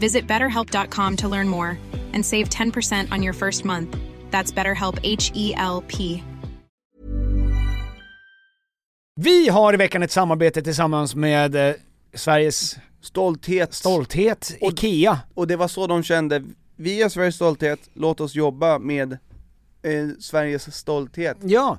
Speaker 5: Visit betterhelp.com to learn more and save 10% on your first month. That's BetterHelp H E L P.
Speaker 4: Vi har i veckan ett samarbete tillsammans med eh, Sveriges
Speaker 3: Stolthet!
Speaker 4: stolthet, IKEA.
Speaker 3: Och det var så de kände, vi är Sveriges stolthet, låt oss jobba med eh, Sveriges stolthet.
Speaker 4: Ja,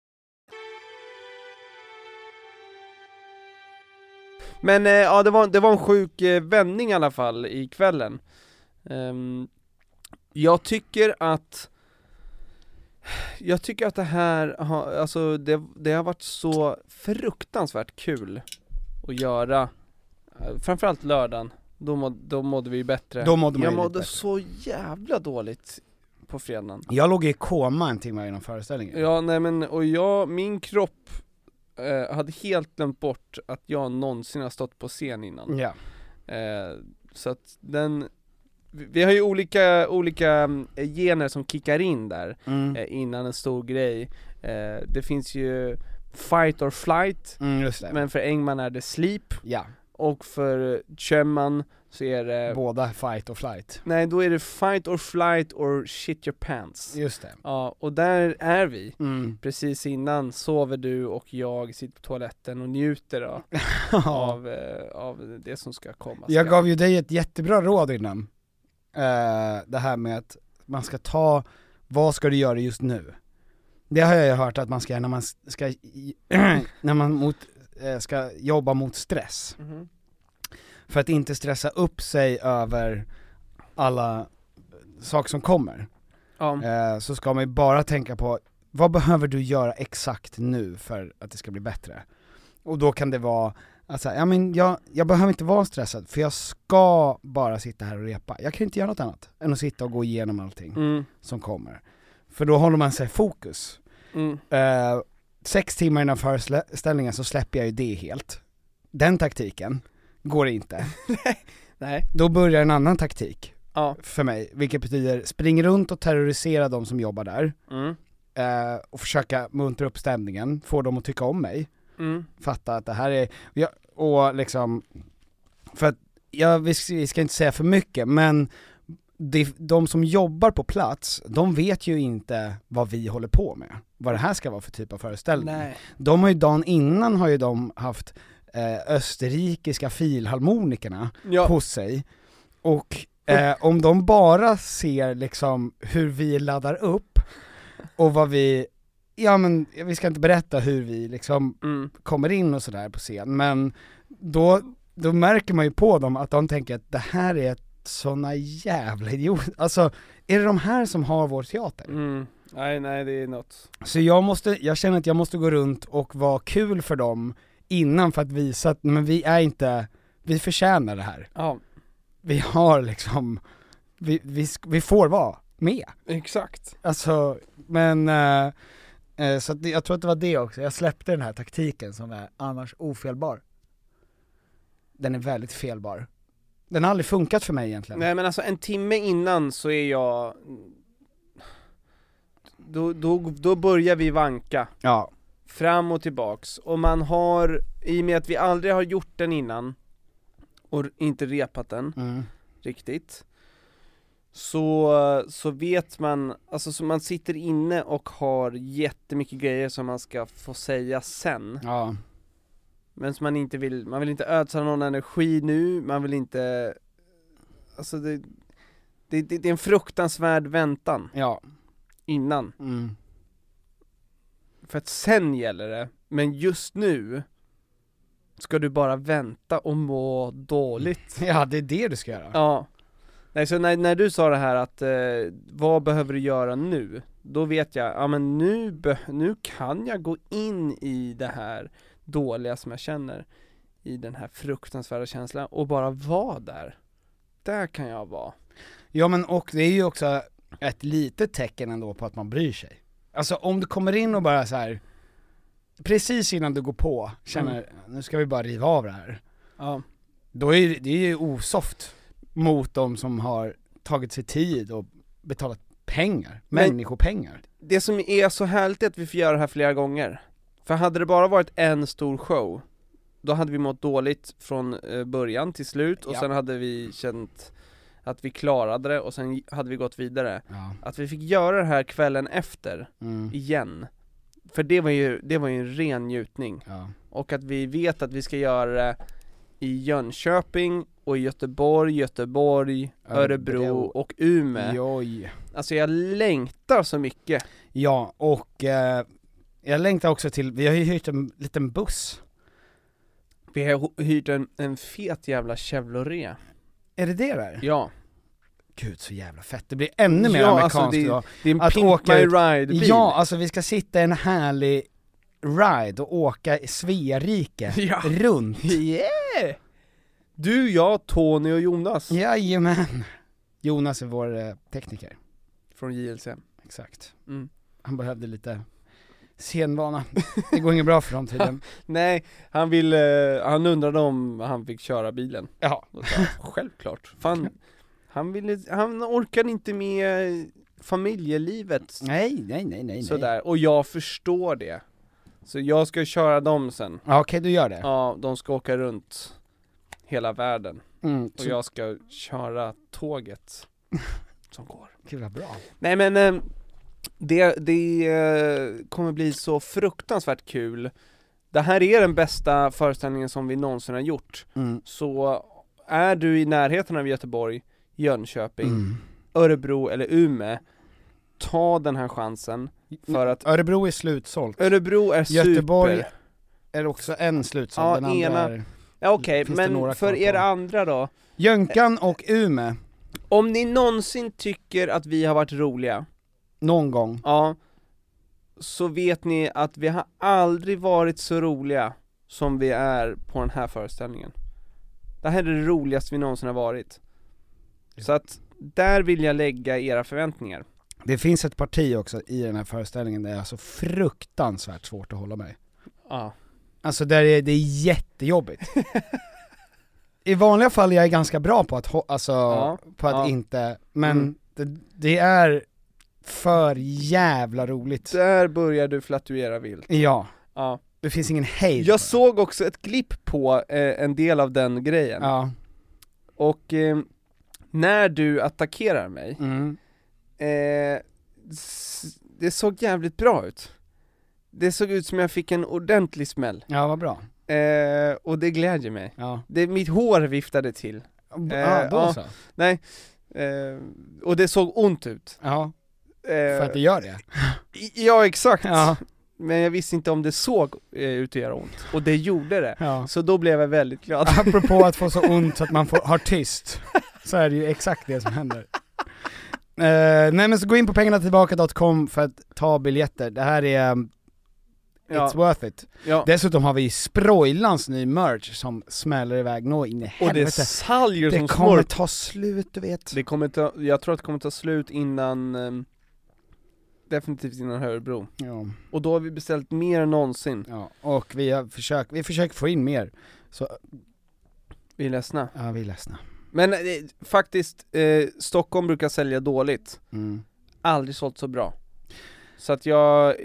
Speaker 3: Men eh, ja, det var, det var en sjuk eh, vändning i alla fall i kvällen. Ehm, jag tycker att jag tycker att det här har, alltså det, det har varit så fruktansvärt kul att göra Eh, Framförallt lördagen, då, må, då mådde vi ju bättre
Speaker 2: Då mådde man
Speaker 3: Jag
Speaker 2: ju lite
Speaker 3: mådde
Speaker 2: bättre.
Speaker 3: så jävla dåligt på fredagen
Speaker 2: Jag låg i koma en timme innan föreställningen.
Speaker 3: Ja nej men, och jag, min kropp eh, hade helt glömt bort att jag någonsin har stått på scen innan
Speaker 4: Mm.
Speaker 2: Ja.
Speaker 3: Eh, så att den, vi- vi har ju olika, olika mm, gener som kickar in där
Speaker 2: Mm.
Speaker 3: eh, innan en stor grej. Eh, det finns ju fight or flight,
Speaker 2: Mm, just det.
Speaker 3: men för Engman är det sleep,
Speaker 2: ja,
Speaker 3: och för Chöman så är det,
Speaker 2: båda fight och flight.
Speaker 3: nej då är det fight or flight or shit your pants.
Speaker 2: Just det.
Speaker 3: Ja, och där är vi.
Speaker 2: Mm.
Speaker 3: Precis innan sover du och jag sitter på toaletten och njuter då, av, eh, av det som ska komma.
Speaker 2: Jag
Speaker 3: skall.
Speaker 2: gav ju dig ett jättebra råd innan. Eh, det här med att man ska ta, vad ska du göra just nu? Det har jag ju hört att man ska göra när man s- ska, i- *clears throat* när man mot, eh, ska jobba mot stress.
Speaker 3: Mhm.
Speaker 2: För att inte stressa upp sig över alla saker som kommer.
Speaker 3: Ja.
Speaker 2: Eh, så ska man ju bara tänka på, vad behöver du göra exakt nu för att det ska bli bättre? Och då kan det vara att säga, ja men jag, jag behöver inte vara stressad för jag ska bara sitta här och repa. Jag kan inte göra något annat än att sitta och gå igenom allting
Speaker 3: Mm,
Speaker 2: som kommer. För då håller man sig i fokus.
Speaker 3: mm.
Speaker 2: Eh, sex timmar innan föreställningen så släpper jag ju det helt. Den taktiken går inte.
Speaker 3: Nej.
Speaker 2: Då börjar en annan taktik
Speaker 3: Ja.
Speaker 2: för mig, vilket betyder spring runt och terrorisera de som jobbar där
Speaker 3: Mm.
Speaker 2: eh, och försöka muntra upp stämningen, få dem att tycka om mig,
Speaker 3: Mm.
Speaker 2: fatta att det här är, jag, och liksom, för att, ja, vi, ska, vi ska inte säga för mycket men det, de som jobbar på plats, de vet ju inte vad vi håller på med, vad det här ska vara för typ av föreställning.
Speaker 3: Nej.
Speaker 2: De har ju dagen innan har ju de haft eh, österrikiska filharmonikerna
Speaker 3: Ja.
Speaker 2: hos sig, och eh, om de bara ser liksom hur vi laddar upp och vad vi, ja men vi ska inte berätta hur vi liksom
Speaker 3: Mm.
Speaker 2: kommer in och sådär på scen, men då, då märker man ju på dem att de tänker att det här är såna jävla idioter, alltså är det de här som har vår teater?
Speaker 3: Mm. Nej, nej det är något.
Speaker 2: Så jag måste, jag känner att jag måste gå runt och vara kul för dem innan för att visa att, men vi är inte, vi förtjänar det här.
Speaker 3: Ja,
Speaker 2: Vi har liksom, vi, vi, sk- vi får vara med.
Speaker 3: exakt.
Speaker 2: Alltså, men, eh, eh, så att det, jag tror att det var det också, jag släppte den här taktiken som är annars ofelbar. Den är väldigt felbar. Den har aldrig funkat för mig egentligen.
Speaker 3: Nej men alltså en timme innan så är jag då, då, då börjar vi vanka,
Speaker 2: Ja,
Speaker 3: fram och tillbaks, och man har, i och med att vi aldrig har gjort den innan och inte repat den
Speaker 2: mm.
Speaker 3: riktigt så, så vet man, alltså så man sitter inne och har jättemycket grejer som man ska få säga sen
Speaker 2: ja,
Speaker 3: Men som man inte vill, man vill inte ödsla någon energi nu, man vill inte Alltså det Det, det, det är en fruktansvärd väntan
Speaker 2: ja,
Speaker 3: innan,
Speaker 2: mm.
Speaker 3: för att sen gäller det, men just nu Ska du bara vänta och må dåligt
Speaker 2: ja det är det du ska göra.
Speaker 3: Ja Nej så när, när du sa det här att, eh, vad behöver du göra nu? Då vet jag, ja men nu, beh- nu kan jag gå in i det här dåliga som jag känner I den här fruktansvärda känslan och bara vara där Där kan jag vara
Speaker 2: Ja men och det är ju också ett litet tecken ändå på att man bryr sig. Alltså om du kommer in och bara så här precis innan du går på, känner nu ska vi bara riva av det här.
Speaker 3: Mm. Ja,
Speaker 2: Då är det- det är ju osoft mot de som har tagit sig tid och betalat pengar,
Speaker 3: Men-
Speaker 2: människopengar.
Speaker 3: Det som är så härligt är att vi får göra det här flera gånger För hade det bara varit en stor show då hade vi mått dåligt från eh, början till slut och
Speaker 4: Ja.
Speaker 3: sen hade vi känt att vi klarade det och sen hade vi gått vidare.
Speaker 2: Ja.
Speaker 3: Att vi fick göra det här kvällen efter,
Speaker 2: Mm.
Speaker 3: igen. För det var ju, det var ju en ren njutning.
Speaker 2: Ja.
Speaker 3: Och att vi vet att vi ska göra det i Jönköping och i Göteborg, Göteborg, Örebro,
Speaker 2: Örebro.
Speaker 3: och Umeå.
Speaker 2: Joj.
Speaker 3: Alltså jag längtar så mycket.
Speaker 2: Ja, och eh, jag längtar också till, vi har ju hyrt en liten buss.
Speaker 3: Vi har ho- hyrt en, en fet jävla Chevrolet.
Speaker 2: Är det det där?
Speaker 3: Ja.
Speaker 2: Gud så jävla fett, det blir ännu mer
Speaker 3: ja,
Speaker 2: amerikanskt
Speaker 3: alltså det,
Speaker 2: idag.
Speaker 3: det är en
Speaker 2: Att
Speaker 3: Pimp
Speaker 2: åka
Speaker 3: My
Speaker 2: ut-
Speaker 3: Ride-bil.
Speaker 2: Ja, alltså vi ska sitta i en härlig ride och åka i Sverige
Speaker 3: *laughs* Ja.
Speaker 2: runt.
Speaker 3: *laughs* Yeah! Du, jag, Tony och Jonas
Speaker 2: Jajamän! Jonas är vår eh, tekniker,
Speaker 3: från JLCM.
Speaker 2: exakt.
Speaker 3: Mm.
Speaker 2: Han behövde lite scenvana. Det går inget bra för dem
Speaker 3: *laughs*
Speaker 2: tydligen.
Speaker 3: Nej, han ville, han undrade om han fick köra bilen.
Speaker 2: Ja.
Speaker 3: Då sa jag, Självklart. Fan, han ville, han orkade inte med familjelivet
Speaker 2: Nej, nej, nej, nej. nej.
Speaker 3: sådär. Och jag förstår det. Så jag ska köra dem sen.
Speaker 2: Ja, okej du gör det.
Speaker 3: Ja, de ska åka runt hela världen.
Speaker 2: Mm,
Speaker 3: Och
Speaker 2: så
Speaker 3: jag ska köra tåget som går.
Speaker 2: kul, vad bra.
Speaker 3: Nej men eh, det, det eh, kommer bli så fruktansvärt kul. Det här är den bästa föreställningen som vi någonsin har gjort.
Speaker 2: Mm.
Speaker 3: Så är du i närheten av Göteborg, Jönköping,
Speaker 2: Mm.
Speaker 3: Örebro eller Umeå, ta den här chansen. För att
Speaker 2: Örebro är slutsålt.
Speaker 3: Örebro är
Speaker 2: Göteborg
Speaker 3: super.
Speaker 2: är också en slutsåld,
Speaker 3: Ja,
Speaker 2: den andra
Speaker 3: ena.
Speaker 2: är...
Speaker 3: Ja, Okej,
Speaker 2: finns det några
Speaker 3: men
Speaker 2: kvar
Speaker 3: för er
Speaker 2: på?
Speaker 3: andra då.
Speaker 2: Jönkan och Ume
Speaker 3: Om ni någonsin tycker att vi har varit roliga,
Speaker 2: någon gång.
Speaker 3: Ja, så vet ni att vi har aldrig varit så roliga som vi är på den här föreställningen. Det här är det roligaste vi någonsin har varit. Så att, där vill jag lägga era förväntningar.
Speaker 2: Det finns ett parti också i den här föreställningen där jag har så fruktansvärt svårt att hålla mig.
Speaker 3: Ja.
Speaker 2: Alltså där är det är
Speaker 3: *laughs*
Speaker 2: jättejobbigt. I vanliga fall är jag ganska bra på att, hå- alltså,
Speaker 3: Ja,
Speaker 2: på att
Speaker 3: ja.
Speaker 2: inte, men
Speaker 3: Mm.
Speaker 2: det, det är för jävla roligt.
Speaker 3: Där börjar du flatuera vilt.
Speaker 2: Ja,
Speaker 3: Ja.
Speaker 2: det finns ingen hejd på
Speaker 3: Jag
Speaker 2: det.
Speaker 3: såg också ett klipp på eh, en del av den grejen.
Speaker 2: Ja,
Speaker 3: Och eh, när du attackerar mig,
Speaker 2: mm.
Speaker 3: eh, s- det såg jävligt bra ut. Det såg ut som jag fick en ordentlig smäll.
Speaker 2: ja vad bra.
Speaker 3: Eh, och det glädjer mig.
Speaker 2: Ja,
Speaker 3: Det, mitt hår viftade till.
Speaker 2: B-
Speaker 3: Eh,
Speaker 2: ja då
Speaker 3: ja.
Speaker 2: så.
Speaker 3: Eh, och det såg ont ut.
Speaker 2: Ja,
Speaker 3: Eh,
Speaker 2: för att det gör det.
Speaker 3: i- Ja, exakt.
Speaker 2: Ja,
Speaker 3: Men jag visste inte om det såg eh, ut att göra ont. Och det gjorde det.
Speaker 2: ja.
Speaker 3: Så då blev jag väldigt glad.
Speaker 2: *laughs* Apropå att få så ont så att man får, har tyst, så är det ju exakt det som händer. Eh, nej men så gå in på pengarnatillbaka.com för att ta biljetter, det här är, um, it's
Speaker 3: Ja,
Speaker 2: worth it.
Speaker 3: ja.
Speaker 2: Dessutom har vi ju sproilans ny merch som smäller iväg, nå in i
Speaker 3: Och det
Speaker 2: helvete.
Speaker 3: saljer
Speaker 2: Det,
Speaker 3: som
Speaker 2: kommer
Speaker 3: smort.
Speaker 2: ta slut du vet.
Speaker 3: Det kommer ta, jag tror att det kommer ta slut innan, ehm, definitivt innan Örebro.
Speaker 2: Ja,
Speaker 3: Och då har vi beställt mer än någonsin.
Speaker 2: ja. Och vi har försökt, vi försöker få in mer. Så,
Speaker 3: Vi är ledsna.
Speaker 2: ja vi är ledsna.
Speaker 3: Men eh, faktiskt, eh, Stockholm brukar sälja dåligt.
Speaker 2: Mm.
Speaker 3: aldrig sålt så bra. Så att jag eh,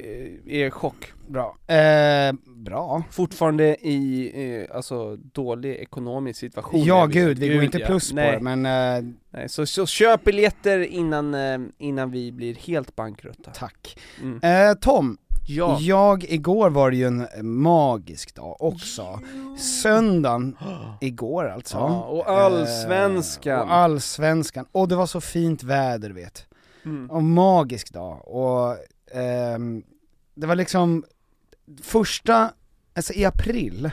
Speaker 3: är i chock.
Speaker 2: Bra. Eh, bra.
Speaker 3: Fortfarande i, eh, alltså, dålig ekonomisk situation.
Speaker 2: Ja
Speaker 3: Jag vet.
Speaker 2: gud, vi går inte
Speaker 3: ja.
Speaker 2: plus på
Speaker 3: nej,
Speaker 2: det men eh,
Speaker 3: Nej, så, så köp biljetter innan, eh, innan vi blir helt bankrutta.
Speaker 2: tack.
Speaker 3: Mm.
Speaker 2: Eh, Tom,
Speaker 3: Ja.
Speaker 2: Jag, igår var det ju en magisk dag också. Söndagen, igår alltså.
Speaker 3: Ja, och allsvenskan.
Speaker 2: Eh, Och allsvenskan. Och det var så fint väder du vet.
Speaker 3: Mm.
Speaker 2: Och magisk dag. Och ehm, det var liksom första, alltså i april,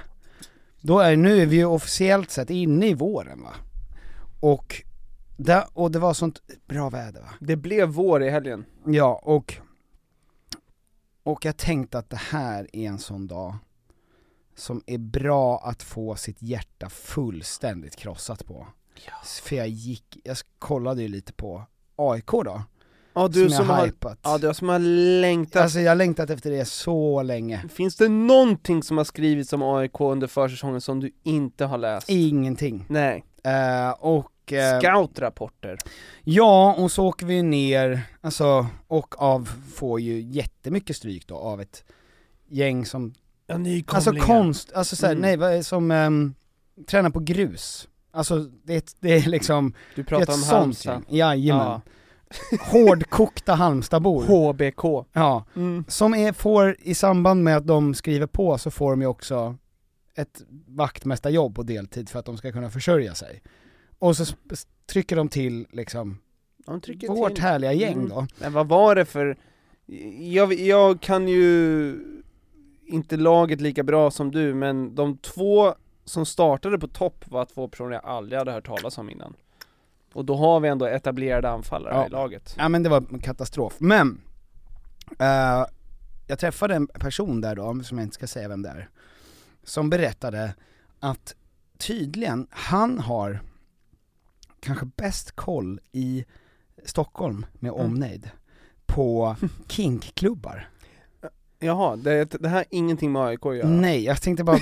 Speaker 2: då är nu är vi ju officiellt sett inne i våren va. Och, där, och det var sånt bra väder va.
Speaker 3: Det blev vår i helgen.
Speaker 2: Ja, och, och jag tänkte att det här är en sån dag som är bra att få sitt hjärta fullständigt krossat på. För jag gick, jag kollade ju lite på AIK då,
Speaker 3: Ja, du som,
Speaker 2: som, jag
Speaker 3: har,
Speaker 2: hypat.
Speaker 3: ja, du som har längtat.
Speaker 2: Alltså jag har längtat efter det så länge.
Speaker 3: Finns det någonting som har skrivits om AIK under försäsongen som du inte har läst?
Speaker 2: Ingenting.
Speaker 3: Nej.
Speaker 2: Eh, och... eh,
Speaker 3: Scoutrapporter.
Speaker 2: Ja, och så åker vi ner, alltså, och av får ju jättemycket stryk då av ett gäng som
Speaker 3: Ja,
Speaker 2: Alltså
Speaker 3: nykomlingar.
Speaker 2: konst, alltså såhär,
Speaker 3: Mm.
Speaker 2: nej vad är som, um, träna på grus. Alltså det, är ett- det är liksom, det
Speaker 3: Du
Speaker 2: är
Speaker 3: pratar
Speaker 2: ett
Speaker 3: om
Speaker 2: sånt
Speaker 3: Halmstad.
Speaker 2: gäng. Jajamän. *laughs* Hårdkokta Halmstadbor.
Speaker 3: HBK.
Speaker 2: ja.
Speaker 3: Mm.
Speaker 2: Som är, får, i samband med att de skriver på så får de ju också ett vaktmästarjobb på deltid för att de ska kunna försörja sig. Och så sp- s- trycker de till liksom,
Speaker 3: De trycker
Speaker 2: vårt
Speaker 3: till.
Speaker 2: härliga gäng
Speaker 3: Mm.
Speaker 2: då.
Speaker 3: Men vad var det för, jag, jag kan ju inte laget lika bra som du, men de två som startade på topp var två personer jag aldrig hade hört talas om innan. Och då har vi ändå etablerade anfallare
Speaker 2: Ja.
Speaker 3: i laget.
Speaker 2: Ja men det var en katastrof, men eh, jag träffade en person där då, som jag inte ska säga vem det är, som berättade att tydligen, han har kanske bäst koll i Stockholm med omnejd på kinkklubbar.
Speaker 3: Jaha, det, det här har ingenting med AIK att göra?
Speaker 2: Nej, jag tänkte
Speaker 3: *laughs*
Speaker 2: bara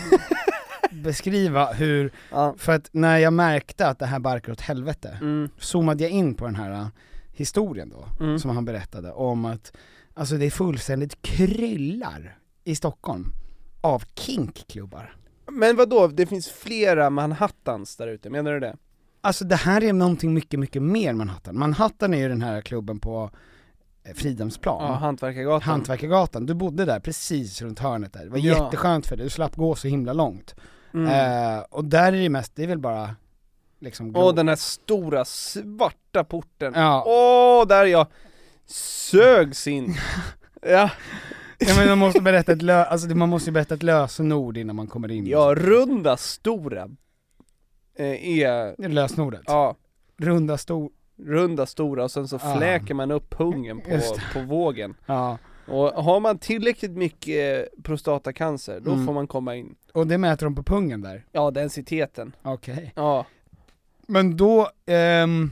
Speaker 2: beskriva hur,
Speaker 3: Ja.
Speaker 2: för att när jag märkte att det här barkar åt helvete,
Speaker 3: Mm.
Speaker 2: zoomade jag in på den här äh, historien då,
Speaker 3: Mm.
Speaker 2: som han berättade om att, alltså det är fullständigt kryllar i Stockholm av kinkklubbar.
Speaker 3: Men vad då? det finns flera Manhattans där ute, menar du det?
Speaker 2: Alltså det här är någonting mycket, mycket mer än Manhattan. Manhattan är ju den här klubben på eh, Fridhemsplan.
Speaker 3: Ja, Hantverkargatan.
Speaker 2: Hantverkargatan, du bodde där precis runt hörnet där, det var
Speaker 3: Ja.
Speaker 2: jätteskönt för dig, du slapp gå så himla långt.
Speaker 3: Mm.
Speaker 2: Eh, och där är det mest, det är väl bara liksom
Speaker 3: Åh,
Speaker 2: glo-
Speaker 3: den här stora svarta porten.
Speaker 2: Ja.
Speaker 3: Åh, där jag
Speaker 2: *laughs*
Speaker 3: sögs in. ja.
Speaker 2: ja, men man måste berätta ett lö- alltså, det- man måste ju berätta ett lösenord innan man kommer in.
Speaker 3: Ja, runda, stora eh,
Speaker 2: Det
Speaker 3: är,
Speaker 2: är liksom. lösenordet.
Speaker 3: ja,
Speaker 2: Runda stor,
Speaker 3: runda, stora och sen så
Speaker 2: Ah.
Speaker 3: fläker man upp pungen på,
Speaker 2: Just
Speaker 3: på vågen.
Speaker 2: ja.
Speaker 3: Och har man tillräckligt mycket eh, prostatacancer, då
Speaker 2: Mm.
Speaker 3: får man komma in.
Speaker 2: Och det mäter de på pungen där?
Speaker 3: Ja, densiteten.
Speaker 2: Okej.
Speaker 3: Ja.
Speaker 2: Men då, ehm,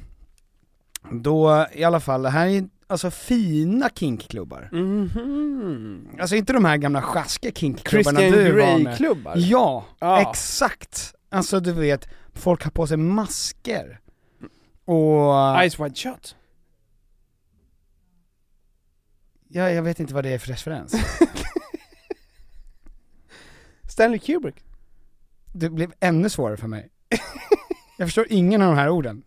Speaker 2: då i alla fall, det här är ju- alltså fina
Speaker 3: Mm.
Speaker 2: kinkklubbar.
Speaker 3: Mhm.
Speaker 2: Alltså inte de här gamla sjaskiga kinkklubbarna
Speaker 3: Christian
Speaker 2: du var med.
Speaker 3: Grey-klubbar.
Speaker 2: Ja,
Speaker 3: Ja.
Speaker 2: exakt! Alltså du vet, folk har på sig masker. Och,
Speaker 3: Ice Wide Shut.
Speaker 2: ja, jag vet inte vad det är för referens.
Speaker 3: Stanley Kubrick.
Speaker 2: Det blev ännu svårare för mig. *laughs* Jag förstår ingen av de här orden.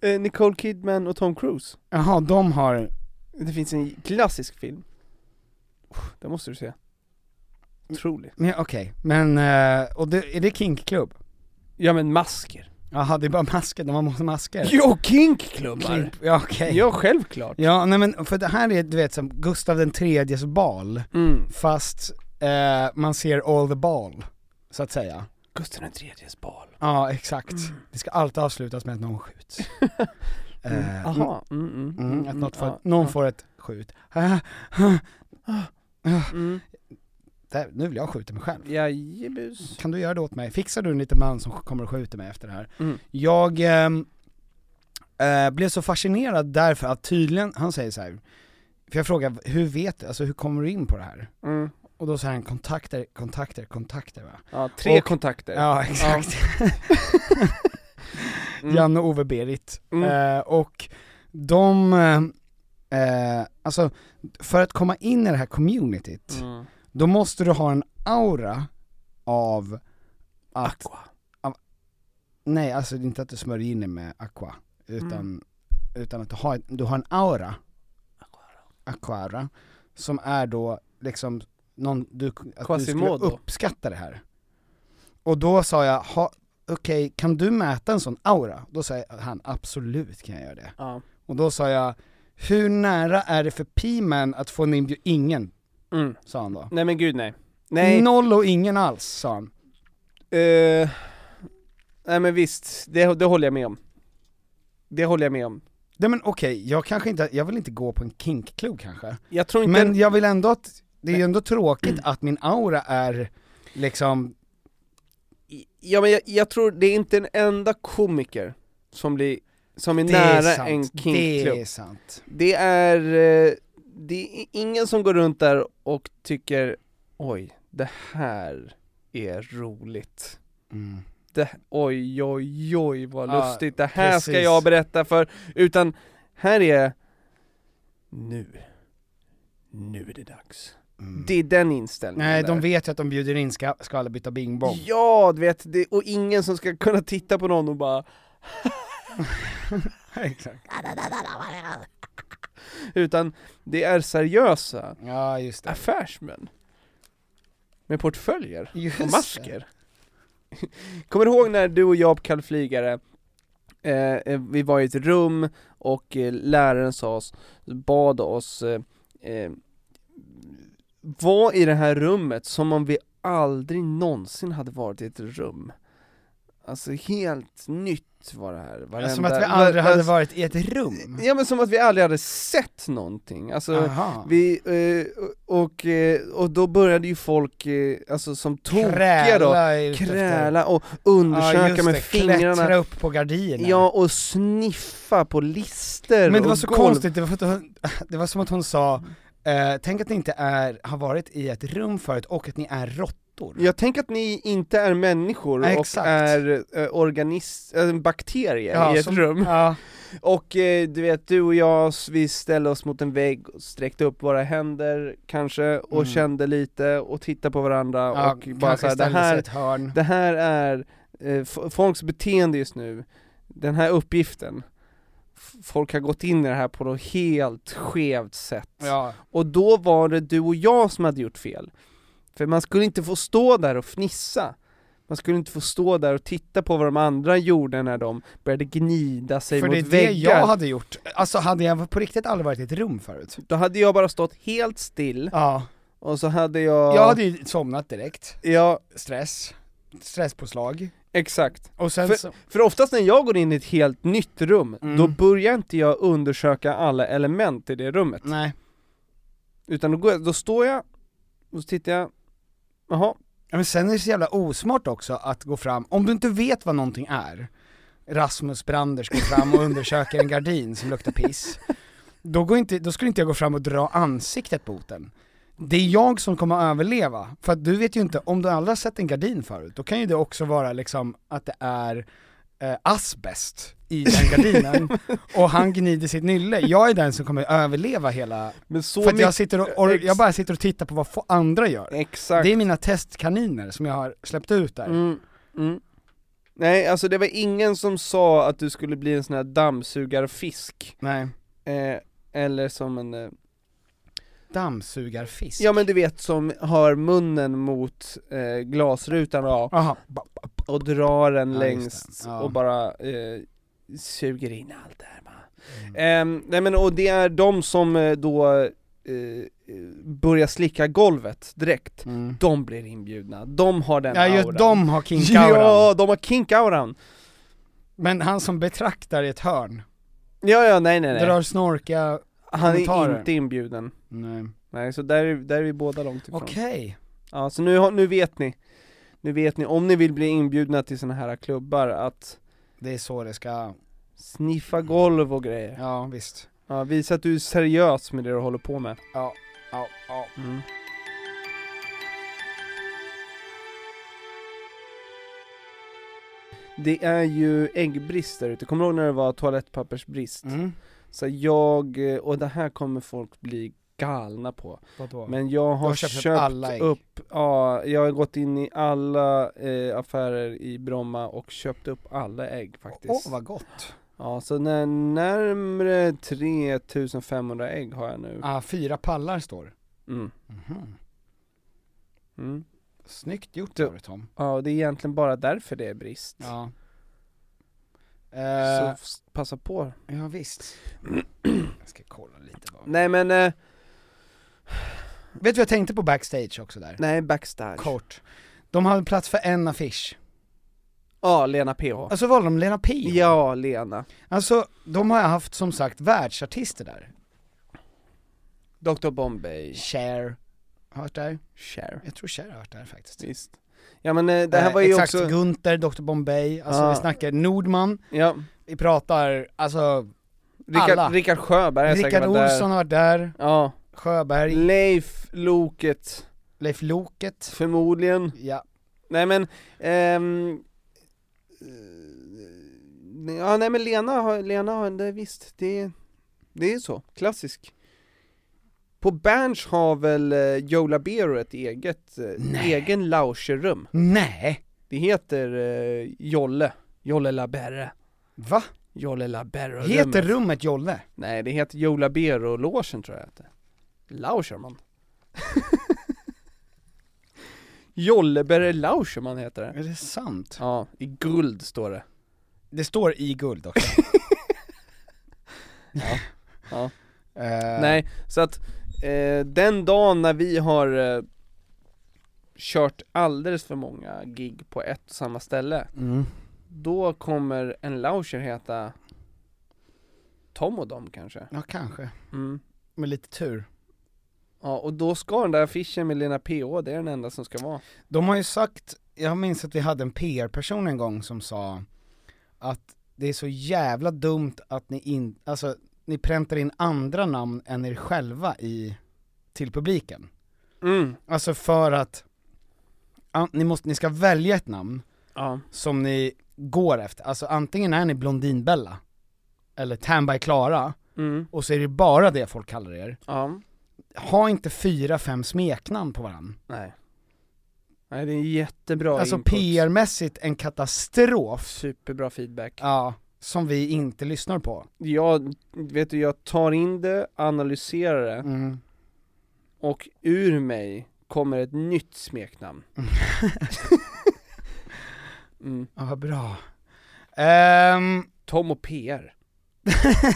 Speaker 3: Eh, Nicole Kidman och Tom Cruise.
Speaker 2: Jaha, de har,
Speaker 3: Det finns en klassisk film. Oh, Den måste du
Speaker 2: Mm.
Speaker 3: se. Otrolig.
Speaker 2: men okej, men, eh, och det, är det kinkklubb?
Speaker 3: Ja men masker.
Speaker 2: Jaha, det är bara masker, de har massa masker?
Speaker 3: Jo, kinkklubbar!
Speaker 2: Ja okej.
Speaker 3: Ja, självklart.
Speaker 2: Ja nej men för det här är du vet som Gustav den tredjes bal,
Speaker 3: Mm.
Speaker 2: fast eh, man ser all the ball, så att säga.
Speaker 3: Gustav den tredjes bal.
Speaker 2: Ja exakt, det ska alltid avslutas med att någon
Speaker 3: *laughs*
Speaker 2: skjuts. Eh,
Speaker 3: Aha. Mm, mm,
Speaker 2: mm, mm, att något får,
Speaker 3: ja,
Speaker 2: någon
Speaker 3: ja.
Speaker 2: får ett skjut. *laughs*
Speaker 3: Mm.
Speaker 2: Där, nu vill jag skjuta mig själv.
Speaker 3: Jajebus.
Speaker 2: Kan du göra det åt mig? Fixar du en liten man som kommer och skjuter mig efter det här?
Speaker 3: Mm.
Speaker 2: Jag ehm, eh, blev så fascinerad därför att tydligen, han säger så här. för jag frågar hur vet du, alltså hur kommer du in på det här?
Speaker 3: Mm.
Speaker 2: Och då säger han kontakter, kontakter, kontakter va?
Speaker 3: Ja, tre
Speaker 2: Och-
Speaker 3: kontakter.
Speaker 2: Ja exakt,
Speaker 3: *laughs* Mm.
Speaker 2: Janne Ove Berit.
Speaker 3: Mm.
Speaker 2: Eh, och de, eh, eh, alltså för att komma in i det här communityt,
Speaker 3: Mm.
Speaker 2: då måste du ha en aura av att
Speaker 3: Aqua.
Speaker 2: Nej, alltså det är inte att du smörjer in dig med aqua, utan,
Speaker 3: Mm.
Speaker 2: utan att du har, du har en aura Aquara, som är då liksom någon, du, att du skulle
Speaker 3: Quasimodo.
Speaker 2: uppskatta det här Och då sa jag, ha, okej, kan du mäta en sån aura? Då sa han, absolut kan jag göra det
Speaker 3: Ja.
Speaker 2: Och då sa jag, hur nära är det för P-man att få en inbjudan? Ingen,
Speaker 3: Mm.
Speaker 2: sa han då
Speaker 3: Nej men gud nej. Nej.
Speaker 2: Noll och ingen alls, sa han
Speaker 3: Eh, nej men visst, det, det håller jag med om. Det håller jag med om.
Speaker 2: Nej men okej, jag kanske inte, jag vill inte gå på en kinkklubb kanske
Speaker 3: Jag tror inte...
Speaker 2: Men jag vill ändå att, det är ju ändå tråkigt att min aura är liksom,
Speaker 3: Ja men jag, jag tror det är inte en enda komiker som blir, som är
Speaker 2: det
Speaker 3: nära
Speaker 2: är sant,
Speaker 3: en kinkklubb.
Speaker 2: det är
Speaker 3: Det,
Speaker 2: sant.
Speaker 3: är, eh, det är ingen som går runt där och tycker oj, det här är roligt.
Speaker 2: Mm.
Speaker 3: Det, oj, oj, oj vad
Speaker 2: Ja,
Speaker 3: lustigt, det här ska
Speaker 2: precis.
Speaker 3: jag berätta för, utan här är nu, nu är det dags. Det är den inställningen
Speaker 2: Mm. Nej,
Speaker 3: där.
Speaker 2: de vet ju att de bjuder in ska, skalbytta bing bong.
Speaker 3: Ja, du vet, det, och ingen som ska kunna titta på någon och bara *laughs*
Speaker 2: *laughs* Exakt.
Speaker 3: Utan det är seriösa
Speaker 2: Ja, just det.
Speaker 3: affärsmän Med portföljer
Speaker 2: Just
Speaker 3: och
Speaker 2: det.
Speaker 3: masker *laughs* Kommer du ihåg när du och jag på kallflygare eh, eh, Vi var i ett rum och eh, läraren sa oss, bad oss eh, eh, Var i det här rummet som om vi aldrig någonsin hade varit i ett rum Alltså helt nytt var det här, varenda,
Speaker 2: Alltså, Som att vi aldrig hade
Speaker 3: var-
Speaker 2: varit i ett rum.
Speaker 3: Ja men som att vi aldrig hade sett någonting, alltså
Speaker 2: Aha.
Speaker 3: vi, eh, och, eh, och då började ju folk, eh, alltså som tokiga då,
Speaker 2: ut efter-
Speaker 3: kräla och
Speaker 2: Ja,
Speaker 3: undersöka
Speaker 2: just
Speaker 3: med
Speaker 2: det, Klättra
Speaker 3: fingrarna,
Speaker 2: upp på gardinerna.
Speaker 3: ja och sniffa på lister
Speaker 2: Men det
Speaker 3: och
Speaker 2: var så
Speaker 3: golv.
Speaker 2: konstigt, det var, för att hon, *laughs* det var som att hon sa, eh, tänk att ni inte är, har varit i ett rum förut och att ni är råttor.
Speaker 3: Jag tänker att ni inte är människor
Speaker 2: Nej,
Speaker 3: och
Speaker 2: exakt.
Speaker 3: är eh, organis- äh, bakterier i ett
Speaker 2: som-
Speaker 3: rum.
Speaker 2: Ja,
Speaker 3: Och eh, du vet, du och jag, s- vi ställde oss mot en vägg, och sträckte upp våra händer kanske, och
Speaker 2: Mm.
Speaker 3: kände lite, och tittade på varandra
Speaker 2: ja,
Speaker 3: och bara såhär, det
Speaker 2: ställde sig i
Speaker 3: här,
Speaker 2: ett hörn.
Speaker 3: det här är eh, f- folks beteende just nu, den här uppgiften. F- Folk har gått in i det här på något helt skevt sätt.
Speaker 2: Ja,
Speaker 3: Och då var det du och jag som hade gjort fel. För man skulle inte få stå där och fnissa. Man skulle inte få stå där och titta på vad de andra gjorde när de började gnida sig
Speaker 2: för
Speaker 3: mot
Speaker 2: det är det
Speaker 3: väggar.
Speaker 2: jag hade gjort. Alltså hade jag på riktigt aldrig varit i ett rum förut?
Speaker 3: Då hade jag bara stått helt still,
Speaker 2: Ja.
Speaker 3: och så hade jag...
Speaker 2: Jag hade ju somnat direkt.
Speaker 3: Ja,
Speaker 2: Stress. Stresspåslag.
Speaker 3: exakt.
Speaker 2: Och sen så,
Speaker 3: För oftast när jag går in i ett helt nytt rum,
Speaker 2: Mm.
Speaker 3: då börjar inte jag undersöka alla element i det rummet.
Speaker 2: nej.
Speaker 3: Utan då, går jag, då står jag, och så tittar jag, jaha,
Speaker 2: Ja, Men sen är det så jävla osmart också att gå fram, om du inte vet vad någonting är, Rasmus Branders går fram och undersöker en gardin som luktar piss, då, går inte, då skulle inte jag gå fram och dra ansiktet mot den. Det är jag som kommer att överleva, för att du vet ju inte, om du aldrig har sett en gardin förut, då kan ju det också vara liksom att det är eh, asbest i den gardinen,
Speaker 3: *laughs*
Speaker 2: och han gnider sitt nylle. Jag är den som kommer att överleva hela,
Speaker 3: men så
Speaker 2: för att jag
Speaker 3: mycket- eh,
Speaker 2: sitter och, och jag
Speaker 3: ex-
Speaker 2: bara sitter och tittar på vad fo- andra gör.
Speaker 3: Exakt.
Speaker 2: Det är mina testkaniner som jag har släppt ut där.
Speaker 3: Mm, mm. Nej, alltså det var ingen som sa att du skulle bli en sån här dammsugarfisk,
Speaker 2: Nej.
Speaker 3: eh, eller som en, eh,
Speaker 2: Dammsugarfisk.
Speaker 3: ja men du vet som har munnen mot eh, glasrutan och,
Speaker 2: Aha.
Speaker 3: och drar den
Speaker 2: Ja, just
Speaker 3: längst
Speaker 2: det. Ja.
Speaker 3: och bara eh, suger in allt där va.
Speaker 2: Mm.
Speaker 3: Ehm, nej men och det är de som eh, då eh, börjar slicka golvet direkt,
Speaker 2: Mm.
Speaker 3: de blir inbjudna, de har den
Speaker 2: Ja just
Speaker 3: auran.
Speaker 2: de har kink
Speaker 3: Ja, de har kink-auran!
Speaker 2: Men han som betraktar i ett hörn,
Speaker 3: Ja, ja, nej nej nej.
Speaker 2: drar snorka,
Speaker 3: Han är
Speaker 2: kommentarer.
Speaker 3: inte inbjuden.
Speaker 2: nej.
Speaker 3: Nej, typ så där, är- där är vi båda långt ifrån.
Speaker 2: Okej.
Speaker 3: Ja, så nu, har- nu vet ni. Nu vet ni, om ni vill bli inbjudna till såna här klubbar, att
Speaker 2: Det är så det ska,
Speaker 3: sniffa golv och grejer.
Speaker 2: ja visst.
Speaker 3: Ja, visa att du är seriös med det du håller på med.
Speaker 2: Ja, ja, ja.
Speaker 3: Mm. Det är ju äggbrist där ute, kommer du ihåg när det var toalettpappersbrist?
Speaker 2: Mm.
Speaker 3: Så jag, eh, och det här kommer folk bli galna på.
Speaker 2: Vadå?
Speaker 3: Men jag har,
Speaker 2: har köpt
Speaker 3: köpt,
Speaker 2: upp alla ägg.
Speaker 3: upp, ja, jag har gått in i alla eh, affärer i Bromma och köpt upp alla ägg faktiskt.
Speaker 2: Åh vad gott.
Speaker 3: Ja, så när, närmre 3500 ägg har jag nu.
Speaker 2: Ah, fyra pallar står.
Speaker 3: Mm.
Speaker 2: Mhm.
Speaker 3: Mm.
Speaker 2: Snyggt gjort
Speaker 3: Du-
Speaker 2: av dig Tom.
Speaker 3: Ja, och det är egentligen bara därför det är brist.
Speaker 2: Ja.
Speaker 3: Så
Speaker 2: Eh,
Speaker 3: s- passa på.
Speaker 2: ja visst. *clears throat* Jag ska kolla lite vad.
Speaker 3: Nej men, eh,
Speaker 2: Vet du vad jag tänkte på backstage också där?
Speaker 3: nej backstage.
Speaker 2: Kort. De hade plats för en affisch.
Speaker 3: Ja, Lena PH.
Speaker 2: Alltså valde de Lena Pio?
Speaker 3: Ja, Lena.
Speaker 2: Alltså, de har haft som sagt världsartister där.
Speaker 3: Dr Bombay.
Speaker 2: Cher, hört där?
Speaker 3: Cher.
Speaker 2: Jag tror Cher har hört där faktiskt.
Speaker 3: Visst. Ja men eh, det här var ju
Speaker 2: eh, exakt,
Speaker 3: också,
Speaker 2: Gunther, Dr Bombay, alltså
Speaker 3: Ja.
Speaker 2: vi snackar Nordman,
Speaker 3: ja,
Speaker 2: vi pratar, alltså Alla.
Speaker 3: Rickard, Rickard Sjöberg har säkert
Speaker 2: Rickard
Speaker 3: varit där.
Speaker 2: Olsson har varit där,
Speaker 3: Ja,
Speaker 2: Sjöberg,
Speaker 3: Leif Loket,
Speaker 2: Leif Loket,
Speaker 3: förmodligen.
Speaker 2: ja,
Speaker 3: Nej men, ehm, eh, ja nej men Lena har, Lena har, det, visst, det, det är så, klassisk. På Berns har väl eh, Joe Labero ett eget, eh, egen loungerum.
Speaker 2: Nej!
Speaker 3: Det heter eh, Jolle, Jolle Labere,
Speaker 2: Va?
Speaker 3: Jolle Labero
Speaker 2: Heter rummet Jolle?
Speaker 3: Nej, det heter Joe Labero-logen tror jag det heter. *laughs* Lauscherman. Jollebere Lauscherman heter det.
Speaker 2: Är det sant?
Speaker 3: Ja, i guld står det.
Speaker 2: Det står i guld också.
Speaker 3: *laughs* Ja.
Speaker 2: Eh,
Speaker 3: Nej, så att eh, den dagen när vi har eh, kört alldeles för många gig på ett och samma ställe,
Speaker 2: Mm.
Speaker 3: då kommer en lauscher heta Tom och dem kanske.
Speaker 2: Ja, kanske.
Speaker 3: Mm.
Speaker 2: Med lite tur.
Speaker 3: Ja, och då ska den där affischen med Lena PH, det är den enda som ska vara.
Speaker 2: De har ju sagt, jag minns att vi hade en PR-person en gång som sa att det är så jävla dumt att ni in, alltså ni präntar in andra namn än er själva i, till publiken.
Speaker 3: Mm.
Speaker 2: Alltså för att, an, ni måste, ni ska välja ett namn
Speaker 3: Ja.
Speaker 2: som ni går efter, alltså antingen är ni Blondinbella, eller Tan by Klara,
Speaker 3: Mm.
Speaker 2: och så är det bara det folk kallar er.
Speaker 3: Ja.
Speaker 2: Ha inte fyra, fem smeknamn på varandra.
Speaker 3: Nej. Nej, det är en jättebra
Speaker 2: Alltså
Speaker 3: input.
Speaker 2: PR-mässigt en katastrof.
Speaker 3: Superbra feedback.
Speaker 2: Ja, som vi inte lyssnar på.
Speaker 3: Jag, vet du, jag tar in det, analyserar det,
Speaker 2: Mm. *laughs*
Speaker 3: och ur mig kommer ett nytt smeknamn. mm.
Speaker 2: Ja, vad bra. Ehm,
Speaker 3: Tom och PR. *laughs*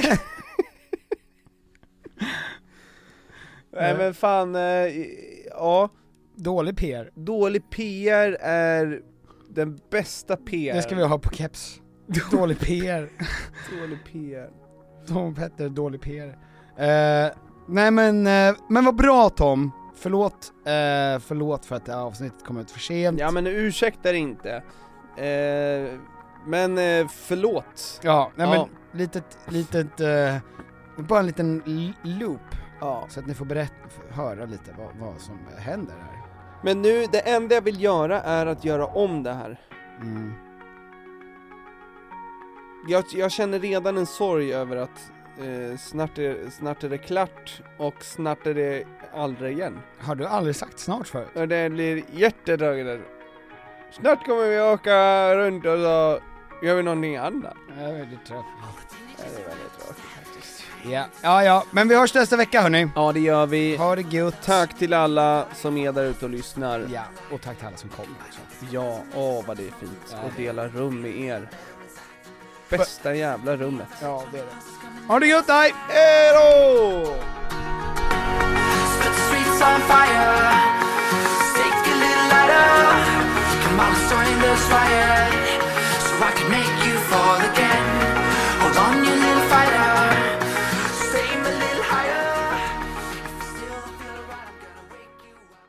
Speaker 3: Nej men fan, eh, ja,
Speaker 2: dålig PR.
Speaker 3: dålig PR är den bästa PR.
Speaker 2: Det ska vi ha på
Speaker 3: *laughs*
Speaker 2: keps. Dålig PR.
Speaker 3: Dålig PR.
Speaker 2: Tom Petter, dålig PR. Eh, nej men, eh, men vad bra Tom. Förlåt, eh, förlåt för att det här avsnittet kom ut för sent.
Speaker 3: Ja men ursäktar inte. Eh, men eh, förlåt.
Speaker 2: Ja, nej men
Speaker 3: Ja.
Speaker 2: litet, litet, eh, bara en liten l- loop.
Speaker 3: Ja.
Speaker 2: Så att ni får berätta, höra lite vad, vad som händer här.
Speaker 3: Men nu, det enda jag vill göra är att göra om det här.
Speaker 2: Mm.
Speaker 3: Jag, jag känner redan en sorg över att eh, snart, är, snart är det klart och snart är det aldrig igen.
Speaker 2: Har du aldrig sagt snart förut?
Speaker 3: Och det blir jätterörigt. Snart kommer vi åka runt och så gör vi någonting annat.
Speaker 2: Jag är väldigt trött.
Speaker 3: Ja, det är väldigt tråkigt faktiskt.
Speaker 2: Ja, ja, ja. men vi hörs nästa vecka hörni.
Speaker 3: Ja, det gör vi.
Speaker 2: Ha det gött.
Speaker 3: Tack till alla som är där ute och lyssnar.
Speaker 2: Ja, och tack till alla som kom också.
Speaker 3: Ja, åh vad det är fint. Och dela rum med er. Bästa jävla rummet.
Speaker 2: Ja, det är det. Ha det gött, hej! Hej då!
Speaker 6: Set the streets on fire. Take a little lighter. Come on, let's join this riot. So I can make you fall again. Hold on, you little fighter. Aim a little higher. If you still don't feel right, I'm gonna wake you up.